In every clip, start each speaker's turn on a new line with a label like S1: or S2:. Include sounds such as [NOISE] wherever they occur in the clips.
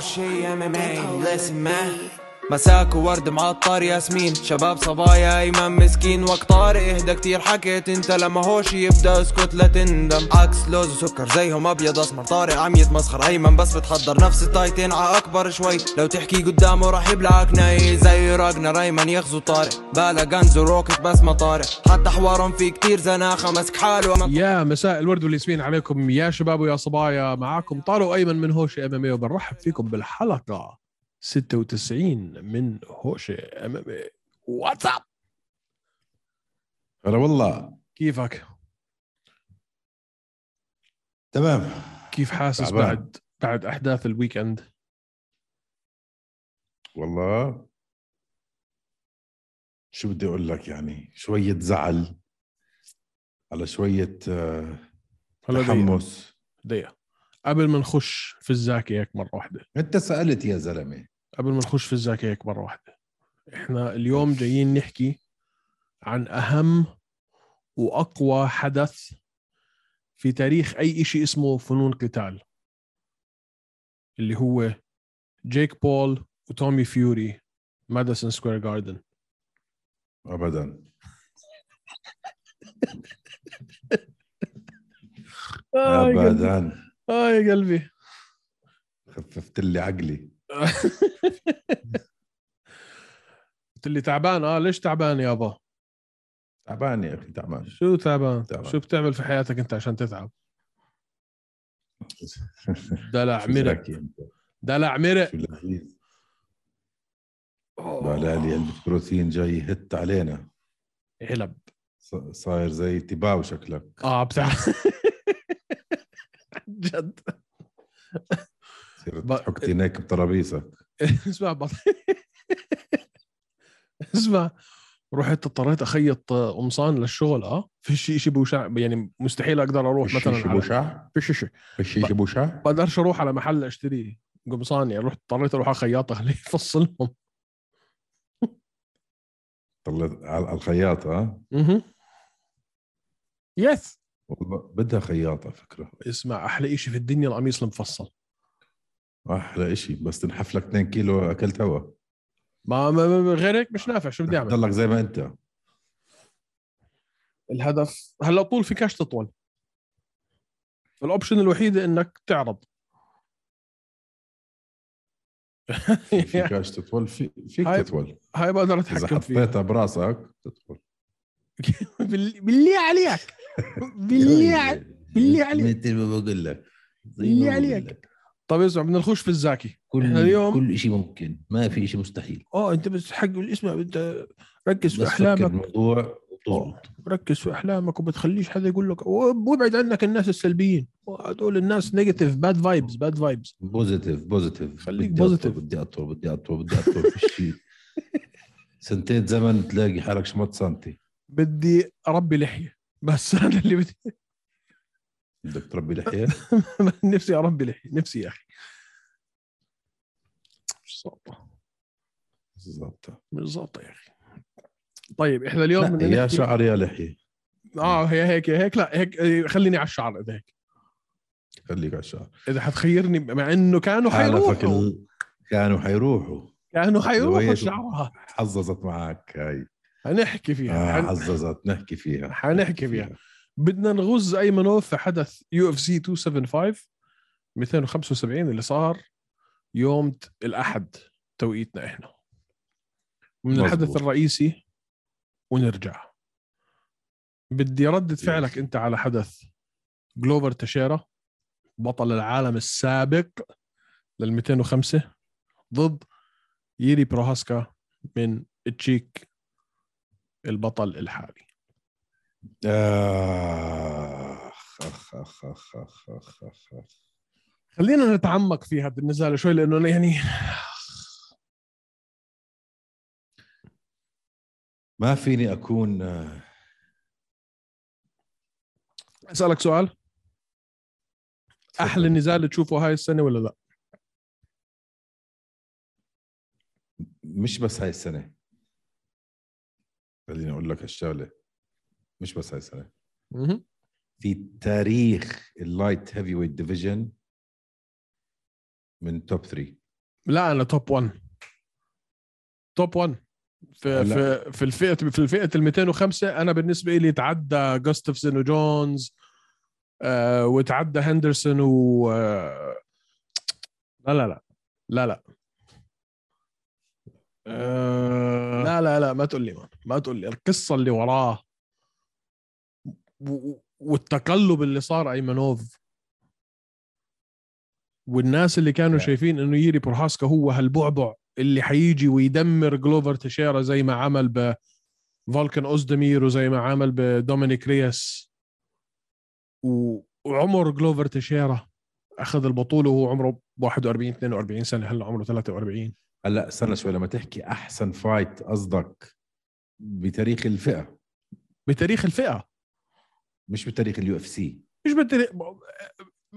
S1: شي ام ام اي listen man مساك وورد معطر ياسمين شباب صبايا ايمن مسكين وقت طارق اهدى كتير حكيت انت لما هوش يبدا اسكت لا تندم عكس لوز وسكر زيهم ابيض اسمر طارق عم يتمسخر ايمن بس بتحضر نفس التايتين ع اكبر شوي لو تحكي قدامه راح يبلعك ناي زي راجنا ريمان يغزو طارق بالا غنز وروكت بس ما طارق حتى حوارهم في كتير زناخه مسك حاله ما
S2: يا مساء الورد والياسمين عليكم يا شباب ويا صبايا معاكم طارق ايمن من هوشة ام ام اي إيه، وبنرحب فيكم بالحلقه 96 من هوشة ام ام اي واتساب
S3: هلا والله
S2: كيفك؟
S3: تمام
S2: كيف حاسس
S3: تعبان.
S2: بعد بعد احداث الويكند؟
S3: والله شو بدي اقول لك يعني شويه زعل على شويه آه،
S2: هلا دقيقة-
S3: تحمس
S2: دقيقه قبل ما نخش في الزاكي هيك مره واحده
S3: انت سالت يا زلمه
S2: قبل ما نخش في الزاكي هيك مره واحده احنا اليوم جايين نحكي عن اهم واقوى حدث في تاريخ اي شيء اسمه فنون قتال اللي هو جيك بول وتومي فيوري ماديسون سكوير جاردن
S3: ابدا آه، ابدا
S2: آه يا قلبي
S3: خففت لي عقلي
S2: قلت لي تعبان اه ليش تعبان يابا
S3: تعبان يا اخي تعبان
S2: شو تعبان
S3: تعبان.
S2: شو بتعمل في حياتك انت عشان تتعب دلع
S3: شو
S2: مرق
S3: زكي أنت؟
S2: دلع مرق
S3: شو لذيذ بلا لي علبه بروتين جاي هت علينا
S2: علب
S3: ص- صاير زي تباو شكلك
S2: اه بتعرف عن جد
S3: صرت
S2: ب-
S3: حكت هناك بترابيسك
S2: اسمع بط... اسمع رحت اضطريت اخيط آه، قمصان للشغل اه في شيء شيء بوشع يعني مستحيل اقدر اروح مثلا
S3: الشيشة
S2: على-
S3: بوشع
S2: في شيء
S3: الشيشة بوشع
S2: بقدرش اروح على محل اشتري قمصان يعني رحت اضطريت اروح على خياط اخليه يفصلهم
S3: طلعت على على الخياطة ها؟
S2: اها يس
S3: والله بدها خياطة فكرة
S2: اسمع احلى شيء في الدنيا القميص المفصل
S3: أحلى إشي بس تنحف لك 2 كيلو أكلت هوا
S2: ما ما- ما- ما- غير هيك مش نافع شو بدي اعمل
S3: تضلك زي
S2: [LAUGHS]
S3: ما أنت
S2: الهدف هلا طول فيكاش تطول الاوبشن الوحيده انك تعرض
S3: فيك إيش تطول في فيك
S2: هاي-
S3: تطول
S2: هاي بقدر
S3: إذا
S2: اتحكم فيها
S3: حطيتها براسك تطول
S2: [LAUGHS] بال- بالله [LAUGHS] عليك بالله عليك بالله عليك.
S3: مثل ما بقول لك زي ما
S2: بالله
S3: بقول
S2: عليك.
S3: لك.
S2: طب اسمع بدنا نخش في الزاكي احنا
S4: كل
S2: اليوم-
S4: كل شيء ممكن ما في شيء مستحيل
S2: اه انت بس حق اسمع انت ركز
S4: بس
S2: في
S4: فكر
S2: احلامك
S4: الموضوع وتزبط
S2: ركز في احلامك وما تخليش حدا يقول لك "و- وابعد عنك الناس السلبيين هدول الناس نيجاتيف باد فايبز باد فايبز
S4: بوزيتيف بوزيتيف
S2: خليك
S4: بدي أطول،
S2: positive.
S4: بدي اطول بدي اطول بدي اطول في
S2: [LAUGHS]
S4: شيء سنتين زمن تلاقي حالك شمط سنتي
S2: بدي اربي لحيه بس [LAUGHS] انا اللي بدي
S3: بدك تربي لحية
S2: نفسي اربي لحيه نفسي يا اخي مش ظابطه
S3: بالضبط
S2: مش ظابطه يا اخي طيب احنا اليوم بدنا
S3: يا
S2: نحكي-
S3: شعر يا لحية
S2: اه هي هيك يا هيك لا هيك إيه، خليني على الشعر اذا هيك
S3: خليك على الشعر
S2: اذا حتخيرني مع انه كانوا
S3: حالفك
S2: حيروحوا
S3: ال- كانوا حيروحوا
S2: كانوا حيروحوا
S3: رواية-
S2: شعرها
S3: حظظت معك هاي
S2: هنحكي فيها
S3: آه
S2: حن-
S3: حظظت نحكي فيها
S2: حنحكي فيها بدنا نغز ايمنوف في حدث يو اف سي 275 275 اللي صار يوم ت- الاحد توقيتنا احنا من
S3: مظبوط.
S2: الحدث الرئيسي ونرجع بدي ردة
S3: Yes.
S2: فعلك انت على حدث جلوفر تشيرا بطل العالم السابق لل 205 ضد ييري بروهاسكا من تشيك البطل الحالي
S3: آخ أخ أخ أخ أخ أخ أخ أخ.
S2: خلينا نتعمق في هذا النزال شوي لانه أنا يعني
S3: ما فيني أكون آه،
S2: اسالك سؤال احلى
S3: تفضل.
S2: نزال تشوفه هاي السنه ولا لا؟
S3: مش بس هاي السنة خليني أقول لك هالشغلة مش بس هاي السنة في تاريخ اللايت هيفي ويت ديفيجن من توب 3
S2: لا انا توب 1 توب 1 في
S3: هلا.
S2: في في الفئه في الفئه ال 205 انا بالنسبه لي تعدى جوستفسون وجونز آه وتعدى هندرسون و آه، لا لا لا لا لا
S5: آه،
S2: لا لا لا ما تقول لي مان ما تقول لي القصه اللي وراه و- و- والتقلب اللي صار ايمنوف والناس اللي كانوا
S5: Yeah.
S2: شايفين انه ييري بورهاسكا هو هالبعبع اللي حيجي ويدمر جلوفر تشيرا زي ما عمل ب فالكن اوزدمير وزي ما عمل بدومينيك رياس و- وعمر جلوفر تشيرا اخذ البطوله وهو عمره 41 42 سنه هلا عمره 43
S3: هلا استنى شوي لما تحكي احسن فايت قصدك بتاريخ الفئه
S2: بتاريخ الفئه
S3: مش بتاريخ اليو اف سي
S2: مش بتاريخ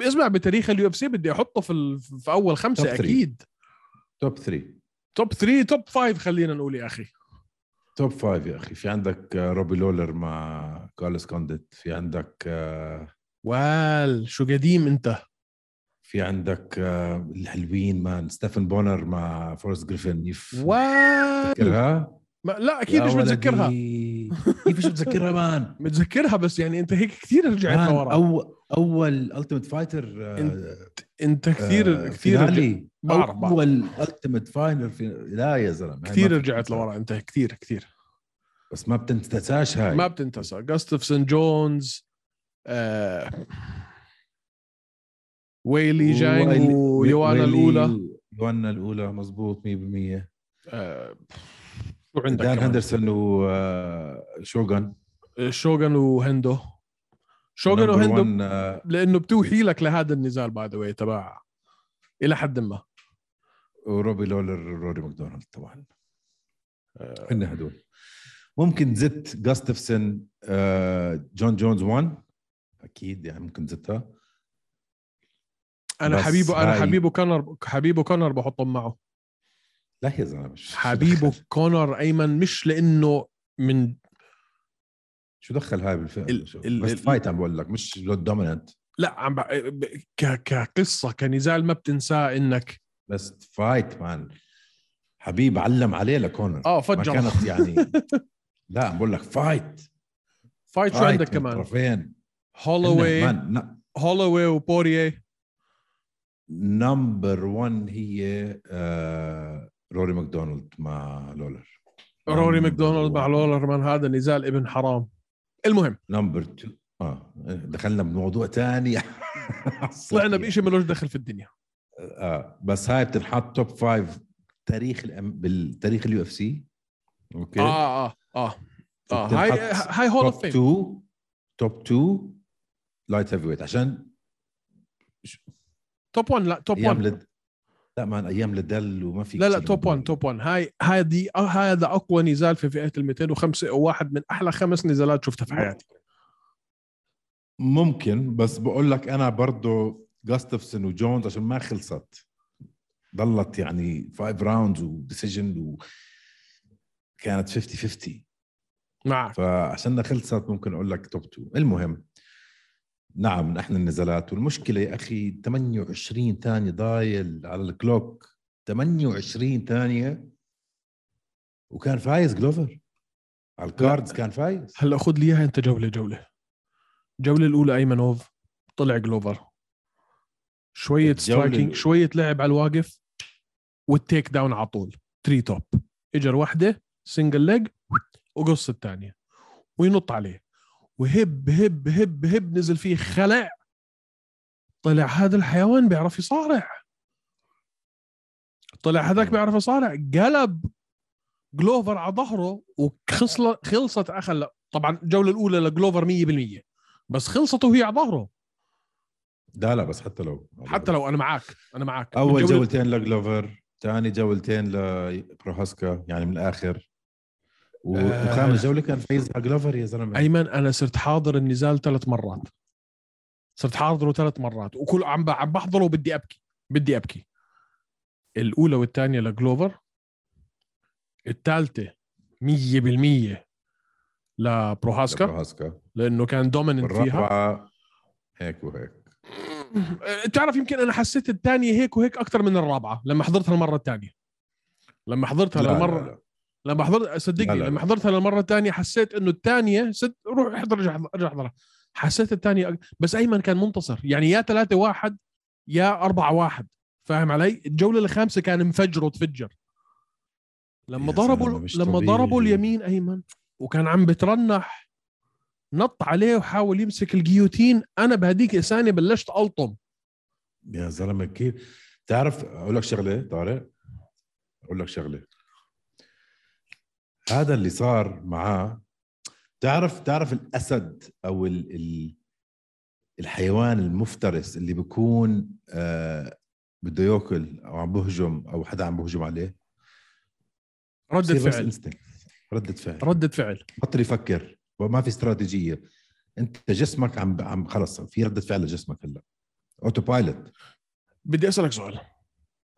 S2: اسمع بتاريخ اليو اف سي بدي احطه في ال... في اول خمسه
S3: Top three.
S2: اكيد
S3: توب 3
S2: توب 3 توب 5 خلينا نقول يا اخي
S3: توب فايف يا اخي في عندك آه، روبي لولر مع كارلوس كونديت في عندك آه،
S2: وال شو قديم انت
S3: في عندك آه، الحلوين مان ستيفن بونر مع فورست جريفن يف
S2: وال
S3: فاكرها؟
S2: ما... لا اكيد مش متذكرها
S5: كيف مش متذكرها مان
S2: [LAUGHS] متذكرها بس يعني انت هيك كثير رجعت
S5: مان
S2: لورا
S5: اول اول التيمت فايتر
S3: آه،
S2: انت كثير كثير رجع-
S5: فينالي
S2: بعرف، بعرف.
S5: اول التيمت فاينل في... لا يا زلمه هاي
S2: كثير
S5: ما
S2: رجعت
S5: بتنسى.
S2: لورا انت كثير كثير
S3: بس ما بتنساش هاي
S2: ما بتنتسى جاستفسون جونز آه... ويلي جانج
S3: ويلي-
S2: ويوانا
S3: ويلي-
S2: الاولى
S3: يوانا الاولى مزبوط 100%
S2: آه... شو عندك
S3: دان
S2: كمان؟
S3: هندرسون آه، وشوغان
S2: شوغان وهندو شوغان وهندو
S3: آه،
S2: لانه بتوحي لك لهذا النزال باي ذا تبع الى حد ما
S3: وروبي لولر روري ماكدونالد طبعا هن هدول ممكن زدت جاستفسن آه، جون جونز 1 اكيد يعني ممكن زدتها
S2: انا
S3: بس
S2: حبيبه انا
S3: هاي-
S2: حبيبه كونر حبيبه كونر بحطهم معه
S3: لا يا زلمه مش
S2: حبيبه
S3: شو دخل-
S2: كونر ايمن مش لانه من
S3: شو دخل هاي بالفئه
S2: ال-
S3: شو-
S2: ال-
S3: بس
S2: ال-
S3: فايت عم بقول لك مش دومينانت
S2: لا عم بع- ب- ك كقصه كنزال ما بتنساه انك
S3: بس فايت مان حبيب علم عليه لكونر
S2: اه
S3: ما
S2: فجر
S3: كانت
S2: [LAUGHS]
S3: يعني لا عم بقول لك فايت
S2: فايت شو
S3: فايت
S2: عندك
S3: من
S2: كمان
S3: طرفين
S2: هولوي
S3: مان، ن-
S2: هولوي وبوريه
S3: نمبر 1 هي آه، روري ماكدونالد مع لولر
S2: روري
S3: Number
S2: ماكدونالد مع
S3: one.
S2: لولر من هذا نزال ابن حرام المهم
S3: نمبر 2 اه دخلنا بموضوع ثاني [LAUGHS]
S2: طلعنا بشيء ملوش دخل في الدنيا
S3: اه بس هاي بتنحط توب 5 تاريخ الأم... بالتاريخ اليو اف سي اوكي
S2: اه اه اه اه هاي هاي هول اوف
S3: توب
S2: فيم
S3: 2 توب 2 لايت هيفي ويت عشان
S2: توب 1 لا توب
S3: ايام
S2: 1
S3: لد... لا مان ايام لدل وما في
S2: لا لا
S3: كتير
S2: توب 1 توب 1 هاي هذه هذا اقوى نزال في فئه ال 205 وواحد من احلى خمس نزالات شفتها في حياتي
S3: ممكن بس بقول لك انا برضه جاستفسون وجونز عشان ما خلصت ضلت يعني 5 راوندز وديسيجن و كانت 50 50
S2: معك
S3: فعشان خلصت ممكن اقول لك توب 2 المهم نعم من احلى النزالات والمشكله يا اخي 28 ثانيه ضايل على الكلوك 28 ثانيه وكان فايز جلوفر على الكاردز كان فايز
S2: هلا خذ لي اياها انت جوله جوله الجوله الاولى ايمنوف طلع جلوفر شويه
S3: الجولة
S2: سترايكينج
S3: الأولى.
S2: شويه لعب على الواقف والتيك داون على طول تري توب اجر واحده سنجل ليج وقص الثانيه وينط عليه وهب هب هب هب نزل فيه خلع طلع هذا الحيوان بيعرف يصارع طلع هذاك بيعرف يصارع قلب جلوفر على ظهره وخلص خلصت اخر طبعا الجوله الاولى لجلوفر 100% بس خلصت وهي على ظهره
S3: لا لا بس حتى لو
S2: حتى لو انا معك انا معك
S3: اول
S2: الجولة-
S3: جولتين لجلوفر ثاني جولتين لبروهاسكا يعني من الاخر و-
S2: آه.
S3: وخامس جوله كان فايزها جلوفر يا زلمه
S2: ايمن انا صرت حاضر النزال ثلاث مرات صرت حاضره ثلاث مرات وكل عم ب- عم بحضره وبدي ابكي بدي ابكي الاولى والثانيه لجلوفر الثالثه 100% لبروهاسكا
S3: بروهاسكا
S2: لانه كان دوميننت فيها طيب، أه،
S3: الرابعه هيك وهيك
S2: تعرف يمكن انا حسيت الثانيه هيك وهيك اكثر من الرابعه لما حضرتها المره الثانيه لما حضرتها
S3: لا، لا،
S2: للمره
S3: لا.
S2: لما حضرت صدقني
S3: لا، لا، لا.
S2: لما حضرتها للمره الثانيه حسيت انه الثانيه صد... روح احضر ارجع ارجع احضرها حسيت الثانيه أك- بس ايمن كان منتصر يعني يا 3 واحد يا 4 واحد فاهم علي الجوله الخامسه كان مفجر وتفجر لما
S3: يا
S2: ضربوا
S3: زلمة، مش
S2: لما
S3: طبيعي.
S2: ضربوا اليمين ايمن وكان عم بترنح نط عليه وحاول يمسك الجيوتين انا بهديك الثانيه بلشت الطم
S3: يا زلمه كيف تعرف اقول لك شغله طارق اقول لك شغله هذا اللي صار معاه تعرف تعرف الاسد او ال ال الحيوان المفترس اللي بيكون آه بده ياكل او عم بهجم او حدا عم بهجم عليه
S2: ردة
S3: بصير بس
S2: فعل
S3: instinct. ردة فعل
S2: ردة فعل
S3: بطل يفكر وما في استراتيجيه انت جسمك عم عم خلص في رده فعل لجسمك هلا اوتو بايلوت
S2: بدي اسالك سؤال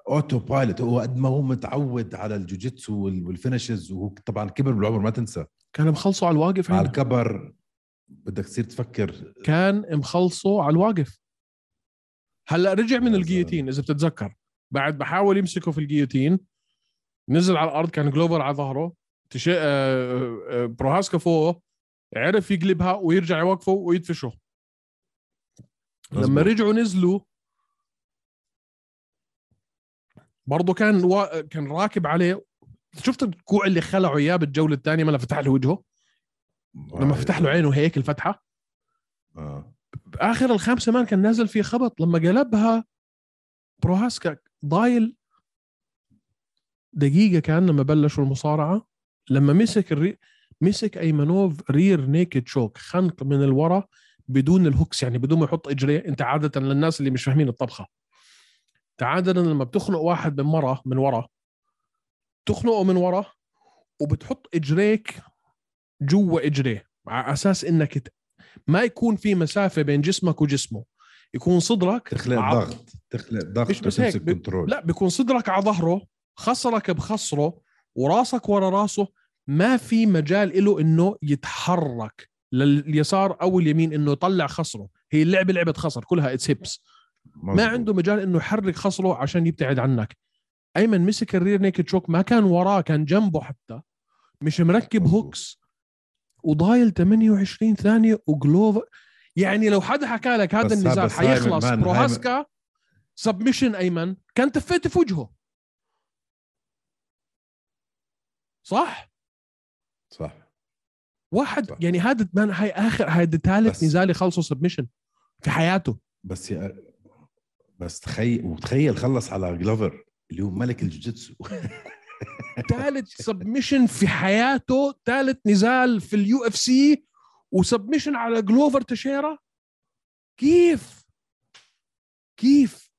S3: اوتو بايلوت هو قد ما هو متعود على الجوجيتسو وال- والفينشز وهو طبعا كبر بالعمر ما تنسى
S2: كان مخلصه على الواقف
S3: مع
S2: أيمن.
S3: الكبر بدك تصير تفكر
S2: كان مخلصه على الواقف هلا رجع من
S3: يا
S2: الجيوتين اذا بتتذكر بعد بحاول يمسكه في الجيوتين نزل على الارض كان جلوفر على ظهره تشي... آه، آه، آه، بروهاسكا فوق عرف يقلبها ويرجع يوقفه ويدفشه لما
S3: مزبوط.
S2: رجعوا نزلوا برضه كان وا... كان راكب عليه شفت الكوع اللي خلعوا اياه بالجوله الثانيه ما فتح له وجهه لما فتح له عينه هيك الفتحه
S3: آه.
S2: باخر الخامسه مان كان نازل فيه خبط لما قلبها بروهاسكا ضايل دقيقة كان لما بلشوا المصارعة لما مسك الري... مسك ايمنوف رير نيكد شوك خنق من الورا بدون الهوكس يعني بدون ما يحط اجريه انت عادة للناس اللي مش فاهمين الطبخة انت عادة لما بتخنق واحد من مرة من ورا تخنقه من ورا وبتحط اجريك جوا اجريه على اساس انك ت... ما يكون في مسافه بين جسمك وجسمه يكون صدرك
S3: تخلق
S2: عض-
S3: ضغط تخلق ضغط
S2: مش بس هيك،
S3: تمسك
S2: ب-
S3: كنترول
S2: لا بيكون صدرك على ظهره خصرك بخصره وراسك ورا راسه ما في مجال له انه يتحرك لليسار او اليمين انه يطلع خصره هي اللعبه لعبه خصر كلها اتس هيبس ما عنده مجال انه يحرك خصره عشان يبتعد عنك ايمن مسك الرير نيكد شوك ما كان وراه كان جنبه حتى مش مركب
S3: مظبوط.
S2: هوكس وضايل 28 ثانيه وجلوف يعني لو حدا حكى لك
S3: بس
S2: هذا
S3: ها-
S2: النزال
S3: بس هايمن
S2: حيخلص
S3: مان،
S2: بروهاسكا سبمشن ايمن كان تفيت في وجهه صح
S3: صح
S2: واحد
S3: صح.
S2: يعني هذا مان هاي اخر هذا ثالث
S3: بس-
S2: نزال يخلصه سبمشن في حياته
S3: بس يا بس تخيل وتخيل خلص على جلوفر اللي هو ملك الجوجيتسو [LAUGHS]
S2: ثالث سبمشن في حياته ثالث نزال في اليو اف سي وسبمشن على جلوفر تشيرا كيف كيف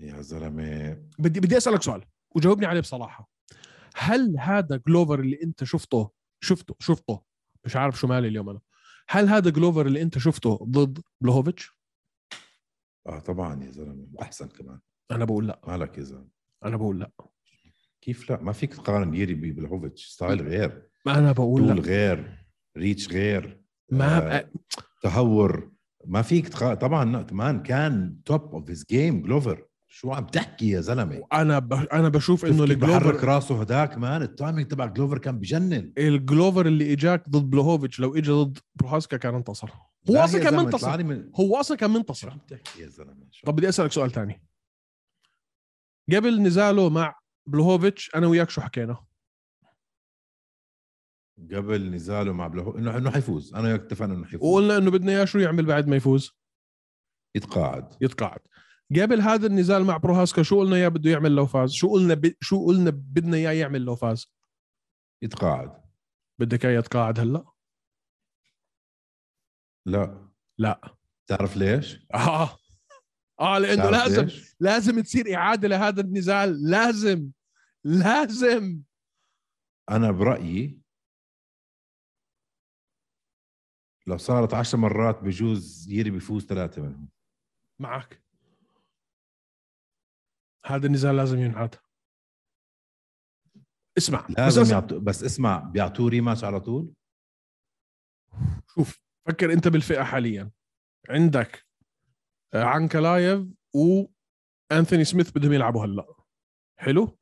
S3: يا زلمه
S2: بدي بدي اسالك سؤال وجاوبني عليه بصراحه هل هذا جلوفر اللي انت شفته شفته شفته مش عارف شو مالي اليوم انا هل هذا جلوفر اللي انت شفته ضد بلوهوفيتش
S3: اه طبعا يا زلمه واحسن كمان
S2: انا بقول لا
S3: مالك يا زلمه
S2: انا بقول لا
S3: كيف لا ما فيك تقارن يري ببلهوفيتش ستايل غير
S2: انا بقول
S3: طول
S2: لا
S3: غير ريتش غير
S2: ما
S3: آه، تهور ما فيك تقارن طبعا كمان كان توب اوف هيز جيم جلوفر شو عم تحكي يا زلمه
S2: انا ب... انا بشوف انه
S3: انه اللي بحرك
S2: الجلوفر
S3: راسه هداك مان التايمينج تبع جلوفر كان بجنن
S2: الجلوفر اللي اجاك ضد بلوهوفيتش لو اجى ضد بروهاسكا كان انتصر هو
S3: لا يا
S2: اصلا كان
S3: زلمة،
S2: منتصر
S3: طلع لي من
S2: هو اصلا كان
S3: شو
S2: منتصر
S3: عم تحكي يا زلمه شو
S2: طب بدي اسالك سؤال تاني قبل نزاله مع بلوهوفيتش انا وياك شو حكينا
S3: قبل نزاله مع بلهو انه انه حيفوز انا وياك اتفقنا انه حيفوز
S2: وقلنا انه بدنا اياه شو يعمل بعد ما يفوز
S3: يتقاعد
S2: يتقاعد قبل هذا النزال مع بروهاسكا شو قلنا اياه بده يعمل لو فاز شو قلنا ب... شو قلنا بدنا اياه يعمل لو فاز
S3: يتقاعد
S2: بدك اياه يتقاعد هلا
S3: لا
S2: لا
S3: تعرف ليش؟
S2: اه اه لانه
S3: تعرف
S2: لازم
S3: ليش؟
S2: لازم تصير اعاده لهذا النزال لازم لازم
S3: انا برايي لو صارت عشر مرات بجوز يري بيفوز ثلاثه منهم
S2: معك هذا النزال لازم ينعاد اسمع
S3: لازم
S2: بس أس-
S3: يعطو بس اسمع بيعطوه ريماتش على طول
S2: شوف فكر انت بالفئه حاليا عندك آه، عنكلايف وانثوني سميث بدهم يلعبوا هلا حلو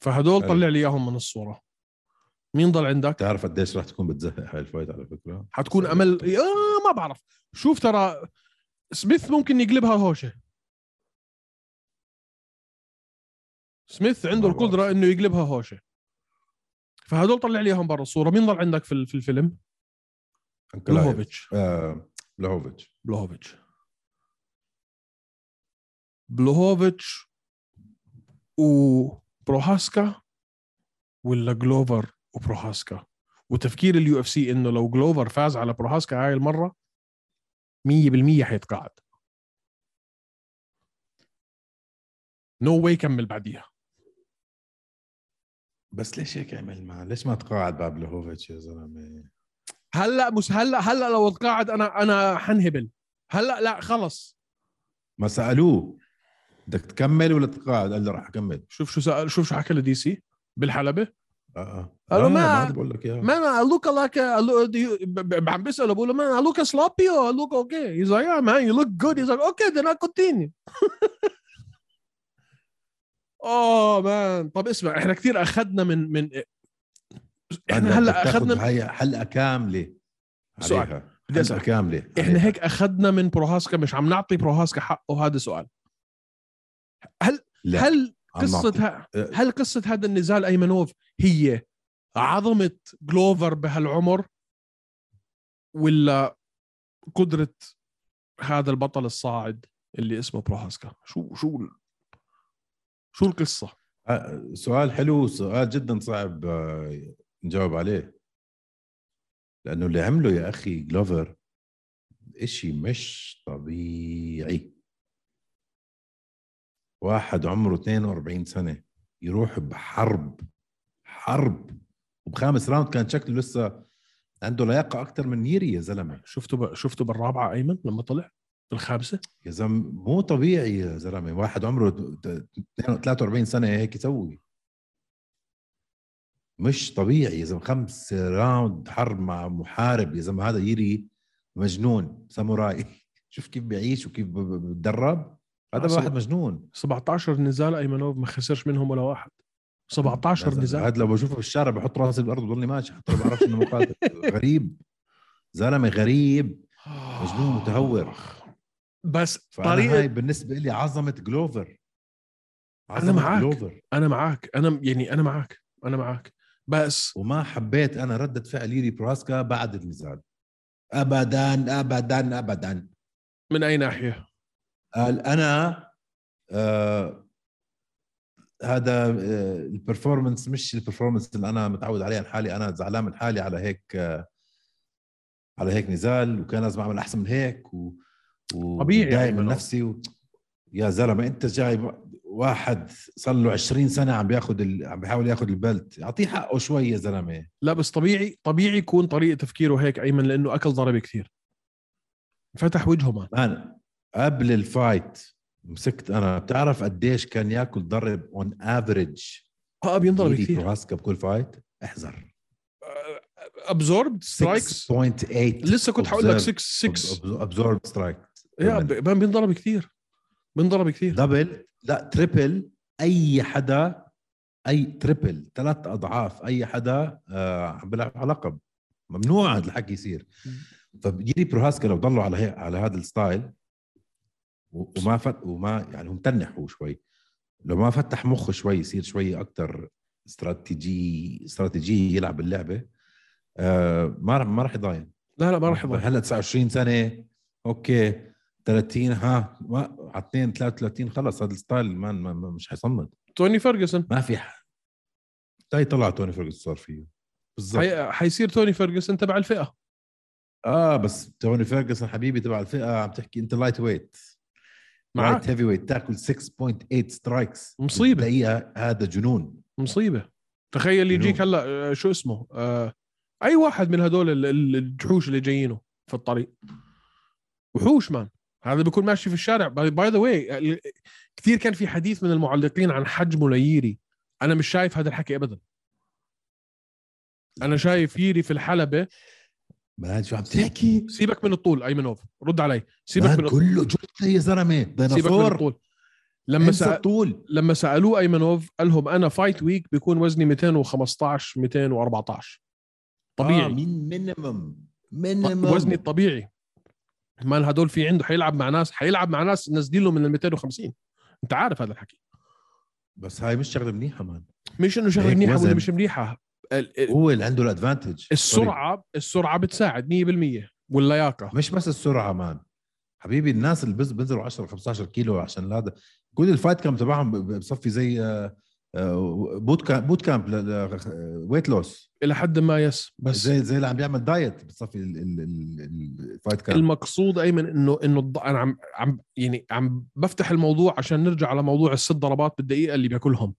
S2: فهدول
S3: حلو.
S2: طلع لي اياهم من الصوره مين ضل عندك
S3: بتعرف قديش راح تكون بتزهق هاي الفايت على فكره
S2: حتكون امل آه ما بعرف شوف ترى سميث ممكن يقلبها هوشه سميث عنده
S3: ما بعرف.
S2: القدره انه يقلبها هوشه فهدول طلع لي اياهم برا الصوره مين ضل عندك في ال- في الفيلم
S3: أنكلايف.
S2: بلوهوفيتش
S3: آه، بلوهوفيتش
S2: بلوهوفيتش بلوهوفيتش وبروهاسكا ولا جلوفر وبروهاسكا وتفكير اليو اف سي انه لو جلوفر فاز على بروهاسكا هاي المره 100% حيتقاعد نو واي كمل بعديها
S3: بس ليش هيك عمل معه؟ ليش ما تقاعد بعد بلوهوفيتش يا زلمه؟
S2: هلا مس هلا هلا لو اتقاعد انا انا حنهبل هلا لا خلص
S3: ما سالوه بدك تكمل ولا تقاعد؟ قال له راح اكمل
S2: شوف شو سأل شوف شو حكى لدي سي بالحلبه
S3: اه اه
S2: قال له
S3: آه،
S2: ما-
S3: عاد بقول لك اياها
S2: Man, I look like a, I look, do you, ب- ب- عم بيسأله بقول له man, I look a sloppy or I look okay? He's like, yeah man, you look good. He's like, okay, then I continue. [LAUGHS] oh man. طب اسمع احنا كثير اخذنا من من احنا هلا اخذنا
S3: هي حلقه كامله
S2: سؤال.
S3: عليها
S2: بدي
S3: حلقه
S2: أسألك.
S3: كامله
S2: احنا
S3: عليها.
S2: هيك اخذنا من بروهاسكا مش عم نعطي بروهاسكا حقه هذا سؤال هل
S3: لا،
S2: هل
S3: عم
S2: قصة
S3: نعطي.
S2: ه-
S3: أه.
S2: هل قصة هذا النزال ايمنوف هي عظمة جلوفر بهالعمر ولا قدرة هذا البطل الصاعد اللي اسمه بروهاسكا شو شو ال- شو القصة
S3: آه، سؤال حلو سؤال جدا صعب آه، نجاوب عليه لانه اللي عمله يا اخي جلوفر اشي مش طبيعي واحد عمره 42 سنه يروح بحرب حرب وبخامس راوند كان شكله لسه عنده لياقه اكثر من نيري يا زلمه
S2: شفته ب... شفته بالرابعة ايمن لما طلع بالخامسة
S3: يا زلمه مو طبيعي يا زلمه واحد عمره ت- ت- 43 سنه هيك يسوي مش طبيعي يا زلمه خمس راوند حرب مع محارب يا زلمه هذا يري مجنون ساموراي [LAUGHS] شوف كيف بيعيش وكيف ب- ب- بتدرب هذا
S2: أصلاً.
S3: واحد مجنون
S2: 17 نزال ايمنوف ما خسرش منهم ولا واحد 17 نزال
S3: هذا لو بشوفه بالشارع بحط راسي بالارض بضلني ماشي حتى لو بعرفش انه مقاتل غريب زلمه غريب مجنون متهور
S2: بس
S3: فانا
S2: طريقة
S3: هاي بالنسبه لي عظمه جلوفر
S2: معك.
S3: جلوفر
S2: انا معك انا يعني انا معك انا معك بس
S3: وما حبيت انا رده فعل يري براسكا بعد النزال ابدا ابدا ابدا
S2: من اي ناحيه
S3: قال انا آه هذا آه البرفورمنس مش البرفورمنس اللي انا متعود عليه عن حالي انا زعلان من حالي على هيك آه على هيك نزال وكان لازم اعمل احسن من هيك و و-
S2: طبيعي
S3: ومتضايق
S2: يعني
S3: من
S2: منه.
S3: نفسي و... يا زلمه انت جاي واحد صار له 20 سنه عم بياخذ ال... عم بيحاول ياخذ البلت اعطيه حقه شوي يا زلمه
S2: لا بس طبيعي طبيعي يكون طريقه تفكيره هيك ايمن لانه اكل ضرب كثير فتح وجهه مان
S3: مان قبل الفايت مسكت انا بتعرف قديش كان ياكل ضرب اون افريج
S2: اه بينضرب كثير
S3: بروهاسكا بكل فايت احذر
S2: ابزورب
S3: 6.8
S2: سترايكس لسه كنت حقول لك 6 6
S3: ابزورب سترايك
S2: يا ب- مان بينضرب كثير بينضرب كثير
S3: دبل لا تريبل اي حدا اي تريبل ثلاث اضعاف اي حدا آه، عم بيلعب على لقب ممنوع هذا الحكي يصير فبيجي بروهاسكا لو ضلوا على هي على هذا الستايل و- وما فت وما يعني هم تنحوا شوي لو ما فتح مخه شوي يصير شوي اكثر استراتيجي استراتيجي يلعب اللعبه آه ما رح ما راح يضاين
S2: لا لا ما راح يضل
S3: هلا 29 سنه اوكي 30 ها ما على 2 33 خلص هذا الستايل مان ما ما- مش حيصمد
S2: توني فيرجسون
S3: ما في ح- تاي طلع توني فيرجسون صار فيه بالضبط
S2: حي... حيصير توني فيرجسون تبع الفئه
S3: اه بس توني فيرجسون حبيبي تبع الفئه عم تحكي انت لايت ويت
S2: معك
S3: لايت هيفي ويت تاكل 6.8 سترايكس
S2: مصيبة.
S3: دقيقه هذا جنون
S2: مصيبه تخيل يجيك
S3: جنون.
S2: هلا آه، شو اسمه آه، اي واحد من هدول ال- ال- الجحوش اللي جايينه في الطريق وحوش مان هذا بيكون ماشي في الشارع باي ذا واي كثير كان في حديث من المعلقين عن حجمه لييري انا مش شايف هذا الحكي ابدا انا شايف ييري في الحلبه
S3: مهد شو عم تحكي؟
S2: سيبك من الطول ايمنوف رد علي سيبك من
S3: مهد
S2: الطول
S3: كله جثه يا زلمه
S2: سيبك من
S3: ديناصور
S2: الطول لما
S3: لما
S2: سأ...
S3: الطول
S2: لما سالوه ايمنوف قال لهم انا فايت ويك بيكون وزني 215 214
S3: آه
S2: طبيعي
S3: من مينيمم
S2: آه
S3: مينيمم
S2: وزني الطبيعي مال هدول في عنده حيلعب مع ناس حيلعب مع ناس نازلين له من ال 250 انت عارف هذا الحكي
S3: بس هاي مش شغله منيحه مان
S2: مش انه شغله
S3: هيك
S2: منيحه ولا
S3: وزن.
S2: مش منيحه ال- ال-
S3: هو اللي عنده الادفانتج
S2: السرعه السرعه بتساعد 100% واللياقه
S3: مش بس السرعه مان حبيبي الناس اللي بز- بنزلوا 10 15 كيلو عشان لا هذا كل الفايت كامب تبعهم ب- بصفي زي آه، آه، بوت كامب بوت كامب ويت لوس
S2: الى حد ما يس بس
S3: زي زي اللي عم بيعمل دايت بصفي ال- ال- ال- الفايت كامب
S2: المقصود ايمن انه انه الض- انا عم عم يعني عم بفتح الموضوع عشان نرجع على موضوع الست ضربات بالدقيقه اللي بياكلهم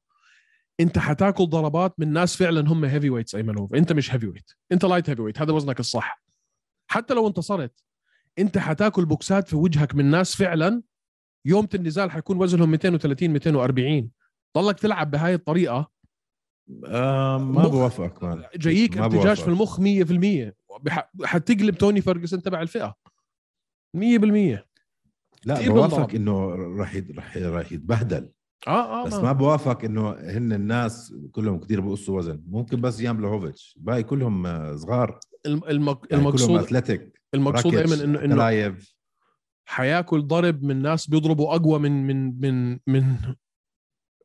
S2: انت حتاكل ضربات من ناس فعلا هم هيفي ويتس ايمنوف انت مش هيفي ويت انت لايت هيفي ويت هذا وزنك الصح حتى لو انتصرت انت حتاكل بوكسات في وجهك من ناس فعلا يوم النزال حيكون وزنهم 230 240 ضلك تلعب بهاي الطريقه
S3: آه ما
S2: مخ.
S3: بوافقك مان
S2: جايك
S3: ما
S2: ارتجاج
S3: بوافقك.
S2: في المخ 100% بح- حتقلب توني فيرجسون تبع الفئه 100%
S3: لا
S2: كتير بنضرب.
S3: بوافقك انه راح يت- راح راح يتبهدل
S2: اه اه
S3: بس
S2: ما-
S3: ما بوافق انه هن الناس كلهم كثير بقصوا وزن ممكن بس يان بلاهوفيتش باقي كلهم آه، صغار
S2: الم- المق...
S3: يعني كلهم
S2: المقصود
S3: اثليتيك
S2: المقصود
S3: راكيتش،
S2: ايمن انه انه
S3: كلايف
S2: حياكل ضرب من ناس بيضربوا اقوى من من من من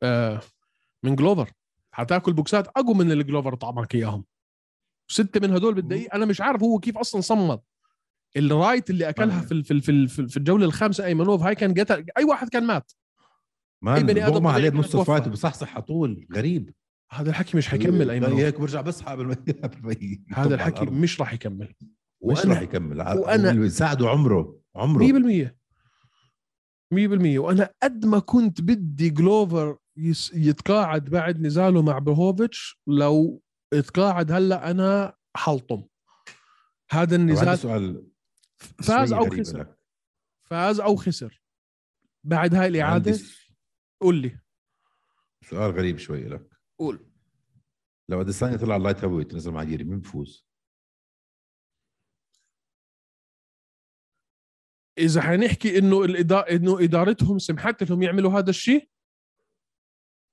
S2: آه من جلوفر حتاكل بوكسات اقوى من اللي جلوفر طعمك اياهم سته من هدول بالدقيقه انا مش عارف هو كيف اصلا صمد الرايت اللي
S3: آه.
S2: اكلها في ال- في ال- في ال- في الجوله الخامسه ايمنوف هاي كان قتل اي واحد كان مات أي
S3: ما
S2: إيه، بني آدم
S3: بقوم
S2: طبيعي
S3: عليه بنص
S2: كان توفى.
S3: الفايت وبصحصح على طول غريب
S2: هذا الحكي مش حيكمل
S3: باقي
S2: ايمنوف
S3: هيك برجع بسحب قبل ما- [LAUGHS] قبل ما ي- يطب على
S2: هذا الحكي
S3: الأرض.
S2: مش راح يكمل
S3: مش
S2: وأنا-
S3: راح يكمل ع-
S2: وأنا-
S3: اللي ساعده عمره عمره
S2: 100% 100% وانا قد ما كنت بدي جلوفر يس- يتقاعد بعد نزاله مع بوهوفيتش لو اتقاعد هلا انا حلطم هذا
S3: طب عندي
S2: النزال
S3: سؤال
S2: فاز
S3: شوي
S2: او
S3: غريب
S2: خسر
S3: لك.
S2: فاز او خسر بعد هاي
S3: عندي
S2: الاعاده قول لي
S3: سؤال غريب شوي لك
S2: قول
S3: لو اديسانيا طلع اللايت هيفي ويت نزل مع جيري مين بفوز؟
S2: اذا حنحكي انه الإدا... انه ادارتهم سمحت لهم يعملوا هذا الشيء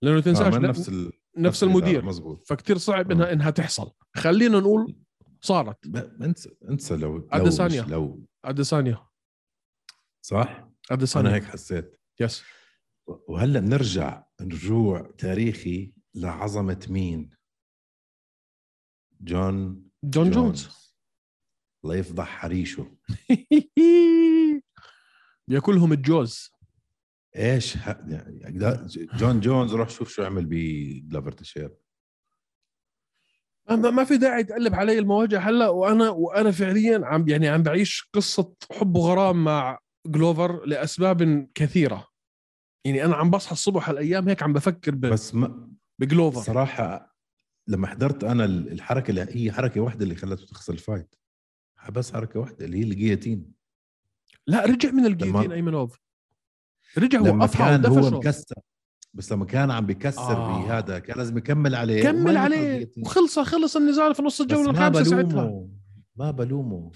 S2: لانه
S3: آه،
S2: تنساش
S3: ما
S2: ن-
S3: نفس ال...
S2: نفس
S3: الإدارة،
S2: المدير
S3: مزبوط
S2: فكتير صعب
S3: آه.
S2: انها انها تحصل خلينا نقول صارت
S3: ب- انسى انسى لو لو
S2: أديسانيا.
S3: مش لو
S2: اديسانيا
S3: صح؟ انا
S2: اديسانيا
S3: هيك حسيت
S2: يس
S3: وهلا بنرجع رجوع تاريخي لعظمه مين؟ جون
S2: جون جونز
S3: الله يفضح حريشه
S2: [LAUGHS] ياكلهم الجوز
S3: ايش ه... يعني لا، جون جونز روح شوف شو عمل بجلافر تشير
S2: ما ما في داعي تقلب علي المواجهه هلا وانا وانا فعليا عم يعني عم بعيش قصه حب وغرام مع جلوفر لاسباب كثيره يعني انا عم بصحى الصبح هالايام هيك عم بفكر ب-
S3: بس ما...
S2: بجلوفر
S3: صراحه لما حضرت انا ال- الحركه اللي هي حركه واحده اللي خلته تخسر الفايت بس حركه واحده اللي هي الجياتين
S2: لا رجع من الجيتين
S3: لما-
S2: ايمنوف رجع
S3: لما
S2: وقفها
S3: كان هو
S2: ودفشه
S3: مكسر بس لما كان عم بكسر
S2: آه.
S3: آه. بهذا كان لازم يكمل عليه
S2: كمل
S3: ولا
S2: عليه
S3: يخرب يتيم.
S2: وخلص خلص النزال في نص
S3: بس
S2: الجوله
S3: ما
S2: الخامسه ساعتها
S3: بلومه ما بلومه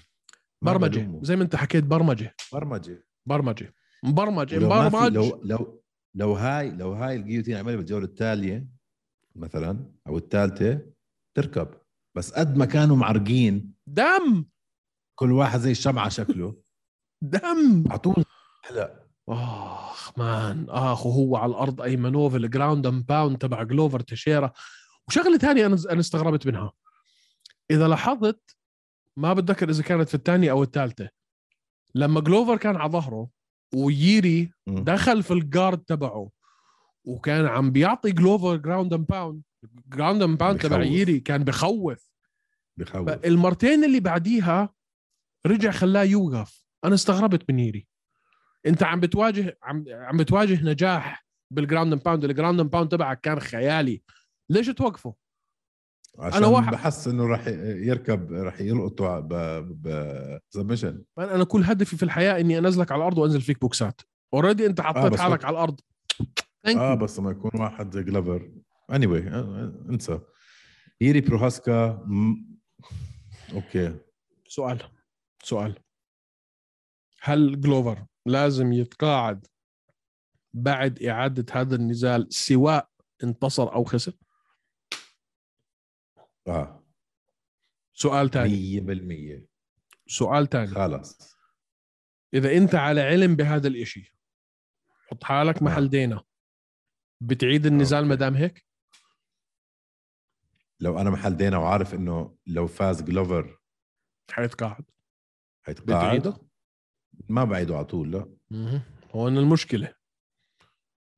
S3: ما
S2: برمجه
S3: بلومه.
S2: زي ما انت حكيت برمجه
S3: برمجه
S2: برمجه مبرمج
S3: ولو ما في-
S2: مبرمج
S3: لو لو لو هاي لو هاي الجيوتين عملها بالجوله التاليه مثلا او الثالثه تركب بس قد ما كانوا معرقين
S2: دم
S3: كل واحد زي الشمعه شكله
S2: دم
S3: على طول هلا
S2: اخ مان اخ وهو على الارض ايمنوف الجراوند اند باوند تبع جلوفر تشيرا وشغله ثانيه انا انا استغربت منها اذا لاحظت ما بتذكر اذا كانت في الثانيه او الثالثه لما جلوفر كان على ظهره وييري
S3: مم.
S2: دخل في الجارد تبعه وكان عم بيعطي جلوفر جراوند اند باوند جراوند اند باوند تبع
S3: بخوف.
S2: ييري كان بخوف
S3: بخوف
S2: المرتين اللي بعديها رجع خلاه يوقف انا استغربت من ييري انت عم بتواجه عم عم بتواجه نجاح بالجراوند اند باوند الجراوند اند باوند تبعك كان خيالي ليش توقفه أنا
S3: عشان أنا
S2: واحد-
S3: واحد بحس انه راح يركب راح يلقطه ب ب سبمشن
S2: انا أنا كل هدفي في الحياه اني انزلك على الارض وانزل فيك بوكسات اوريدي انت حطيت آه
S3: بس
S2: حالك
S3: وقت-
S2: على الارض Thank
S3: اه
S2: you.
S3: بس لما يكون واحد زي جلوفر اني anyway, آه، آه، انسى ييري بروهاسكا م... اوكي
S2: سؤال سؤال هل جلوفر لازم يتقاعد بعد إعادة هذا النزال سواء انتصر أو خسر
S3: اه
S2: سؤال تاني
S3: 100%
S2: سؤال تاني
S3: خلص
S2: إذا أنت على علم بهذا الإشي حط حالك
S3: آه.
S2: محل دينا بتعيد النزال
S3: أوكي.
S2: ما دام هيك
S3: لو انا محل دينا وعارف انه لو فاز جلوفر
S2: حيتقاعد
S3: حيتقاعد
S2: بتعيده
S3: ما بعيده على طول لا
S2: مهم. هون المشكلة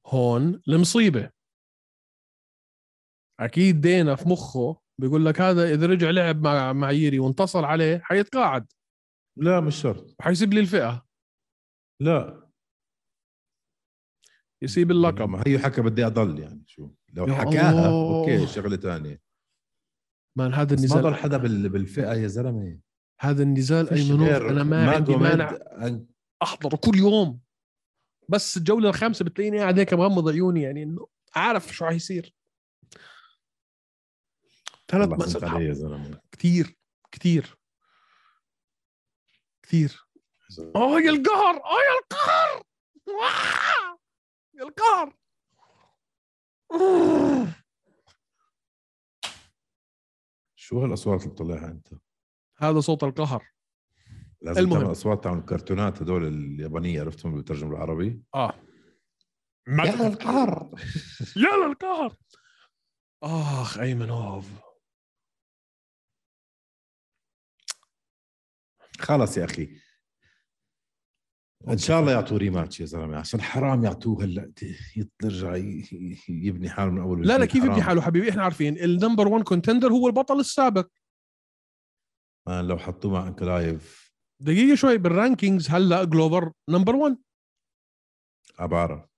S2: هون المصيبة أكيد دينا في مخه بيقول لك هذا إذا رجع لعب مع مع ييري وانتصر عليه حيتقاعد
S3: لا مش شرط
S2: وحيسيب لي الفئة
S3: لا
S2: يسيب اللقب
S3: ما هي حكى بدي اضل يعني شو لو
S2: يا
S3: حكاها
S2: الله.
S3: اوكي شغله ثانيه
S2: مان هذا
S3: بس ما ضل
S2: النزال
S3: حدا بال- بالفئه يا زلمه
S2: هذا النزال
S3: فيش
S2: أيمنوف
S3: غير
S2: أنا ما عندي
S3: ماجوميد
S2: مانع
S3: أن-
S2: أحضره كل يوم بس الجولة الخامسة بتلاقيني قاعد هيك مغمض عيوني يعني إنه عارف شو حيصير ثلاث
S3: الله يسلمك
S2: مسات
S3: عليه يا زلمه
S2: كثير كثير كثير اه يا القهر اه يا القهر آه، يا القهر آه.
S3: شو هالاصوات اللي بتطلعها انت؟
S2: هذا صوت القهر المهم.
S3: لازم المهم. تعمل اصوات تعمل كرتونات هدول اليابانيه عرفتهم اللي بترجم بالعربي؟
S2: اه
S3: يا القهر
S2: يا القهر اخ ايمنوف
S3: خلص يا اخي ان شاء الله يعطوه ريماتش يا زلمه عشان حرام يعطوه هلا يط- يرجع ي- ي- يبني حاله من اول
S2: لا لا
S3: وجديد،
S2: كيف يبني
S3: حرام.
S2: حاله حبيبي احنا عارفين النمبر 1 كونتندر هو البطل السابق
S3: آه، لو حطوه مع انكلايف
S2: دقيقه شوي بالرانكينجز هلا جلوفر نمبر 1
S3: عبارة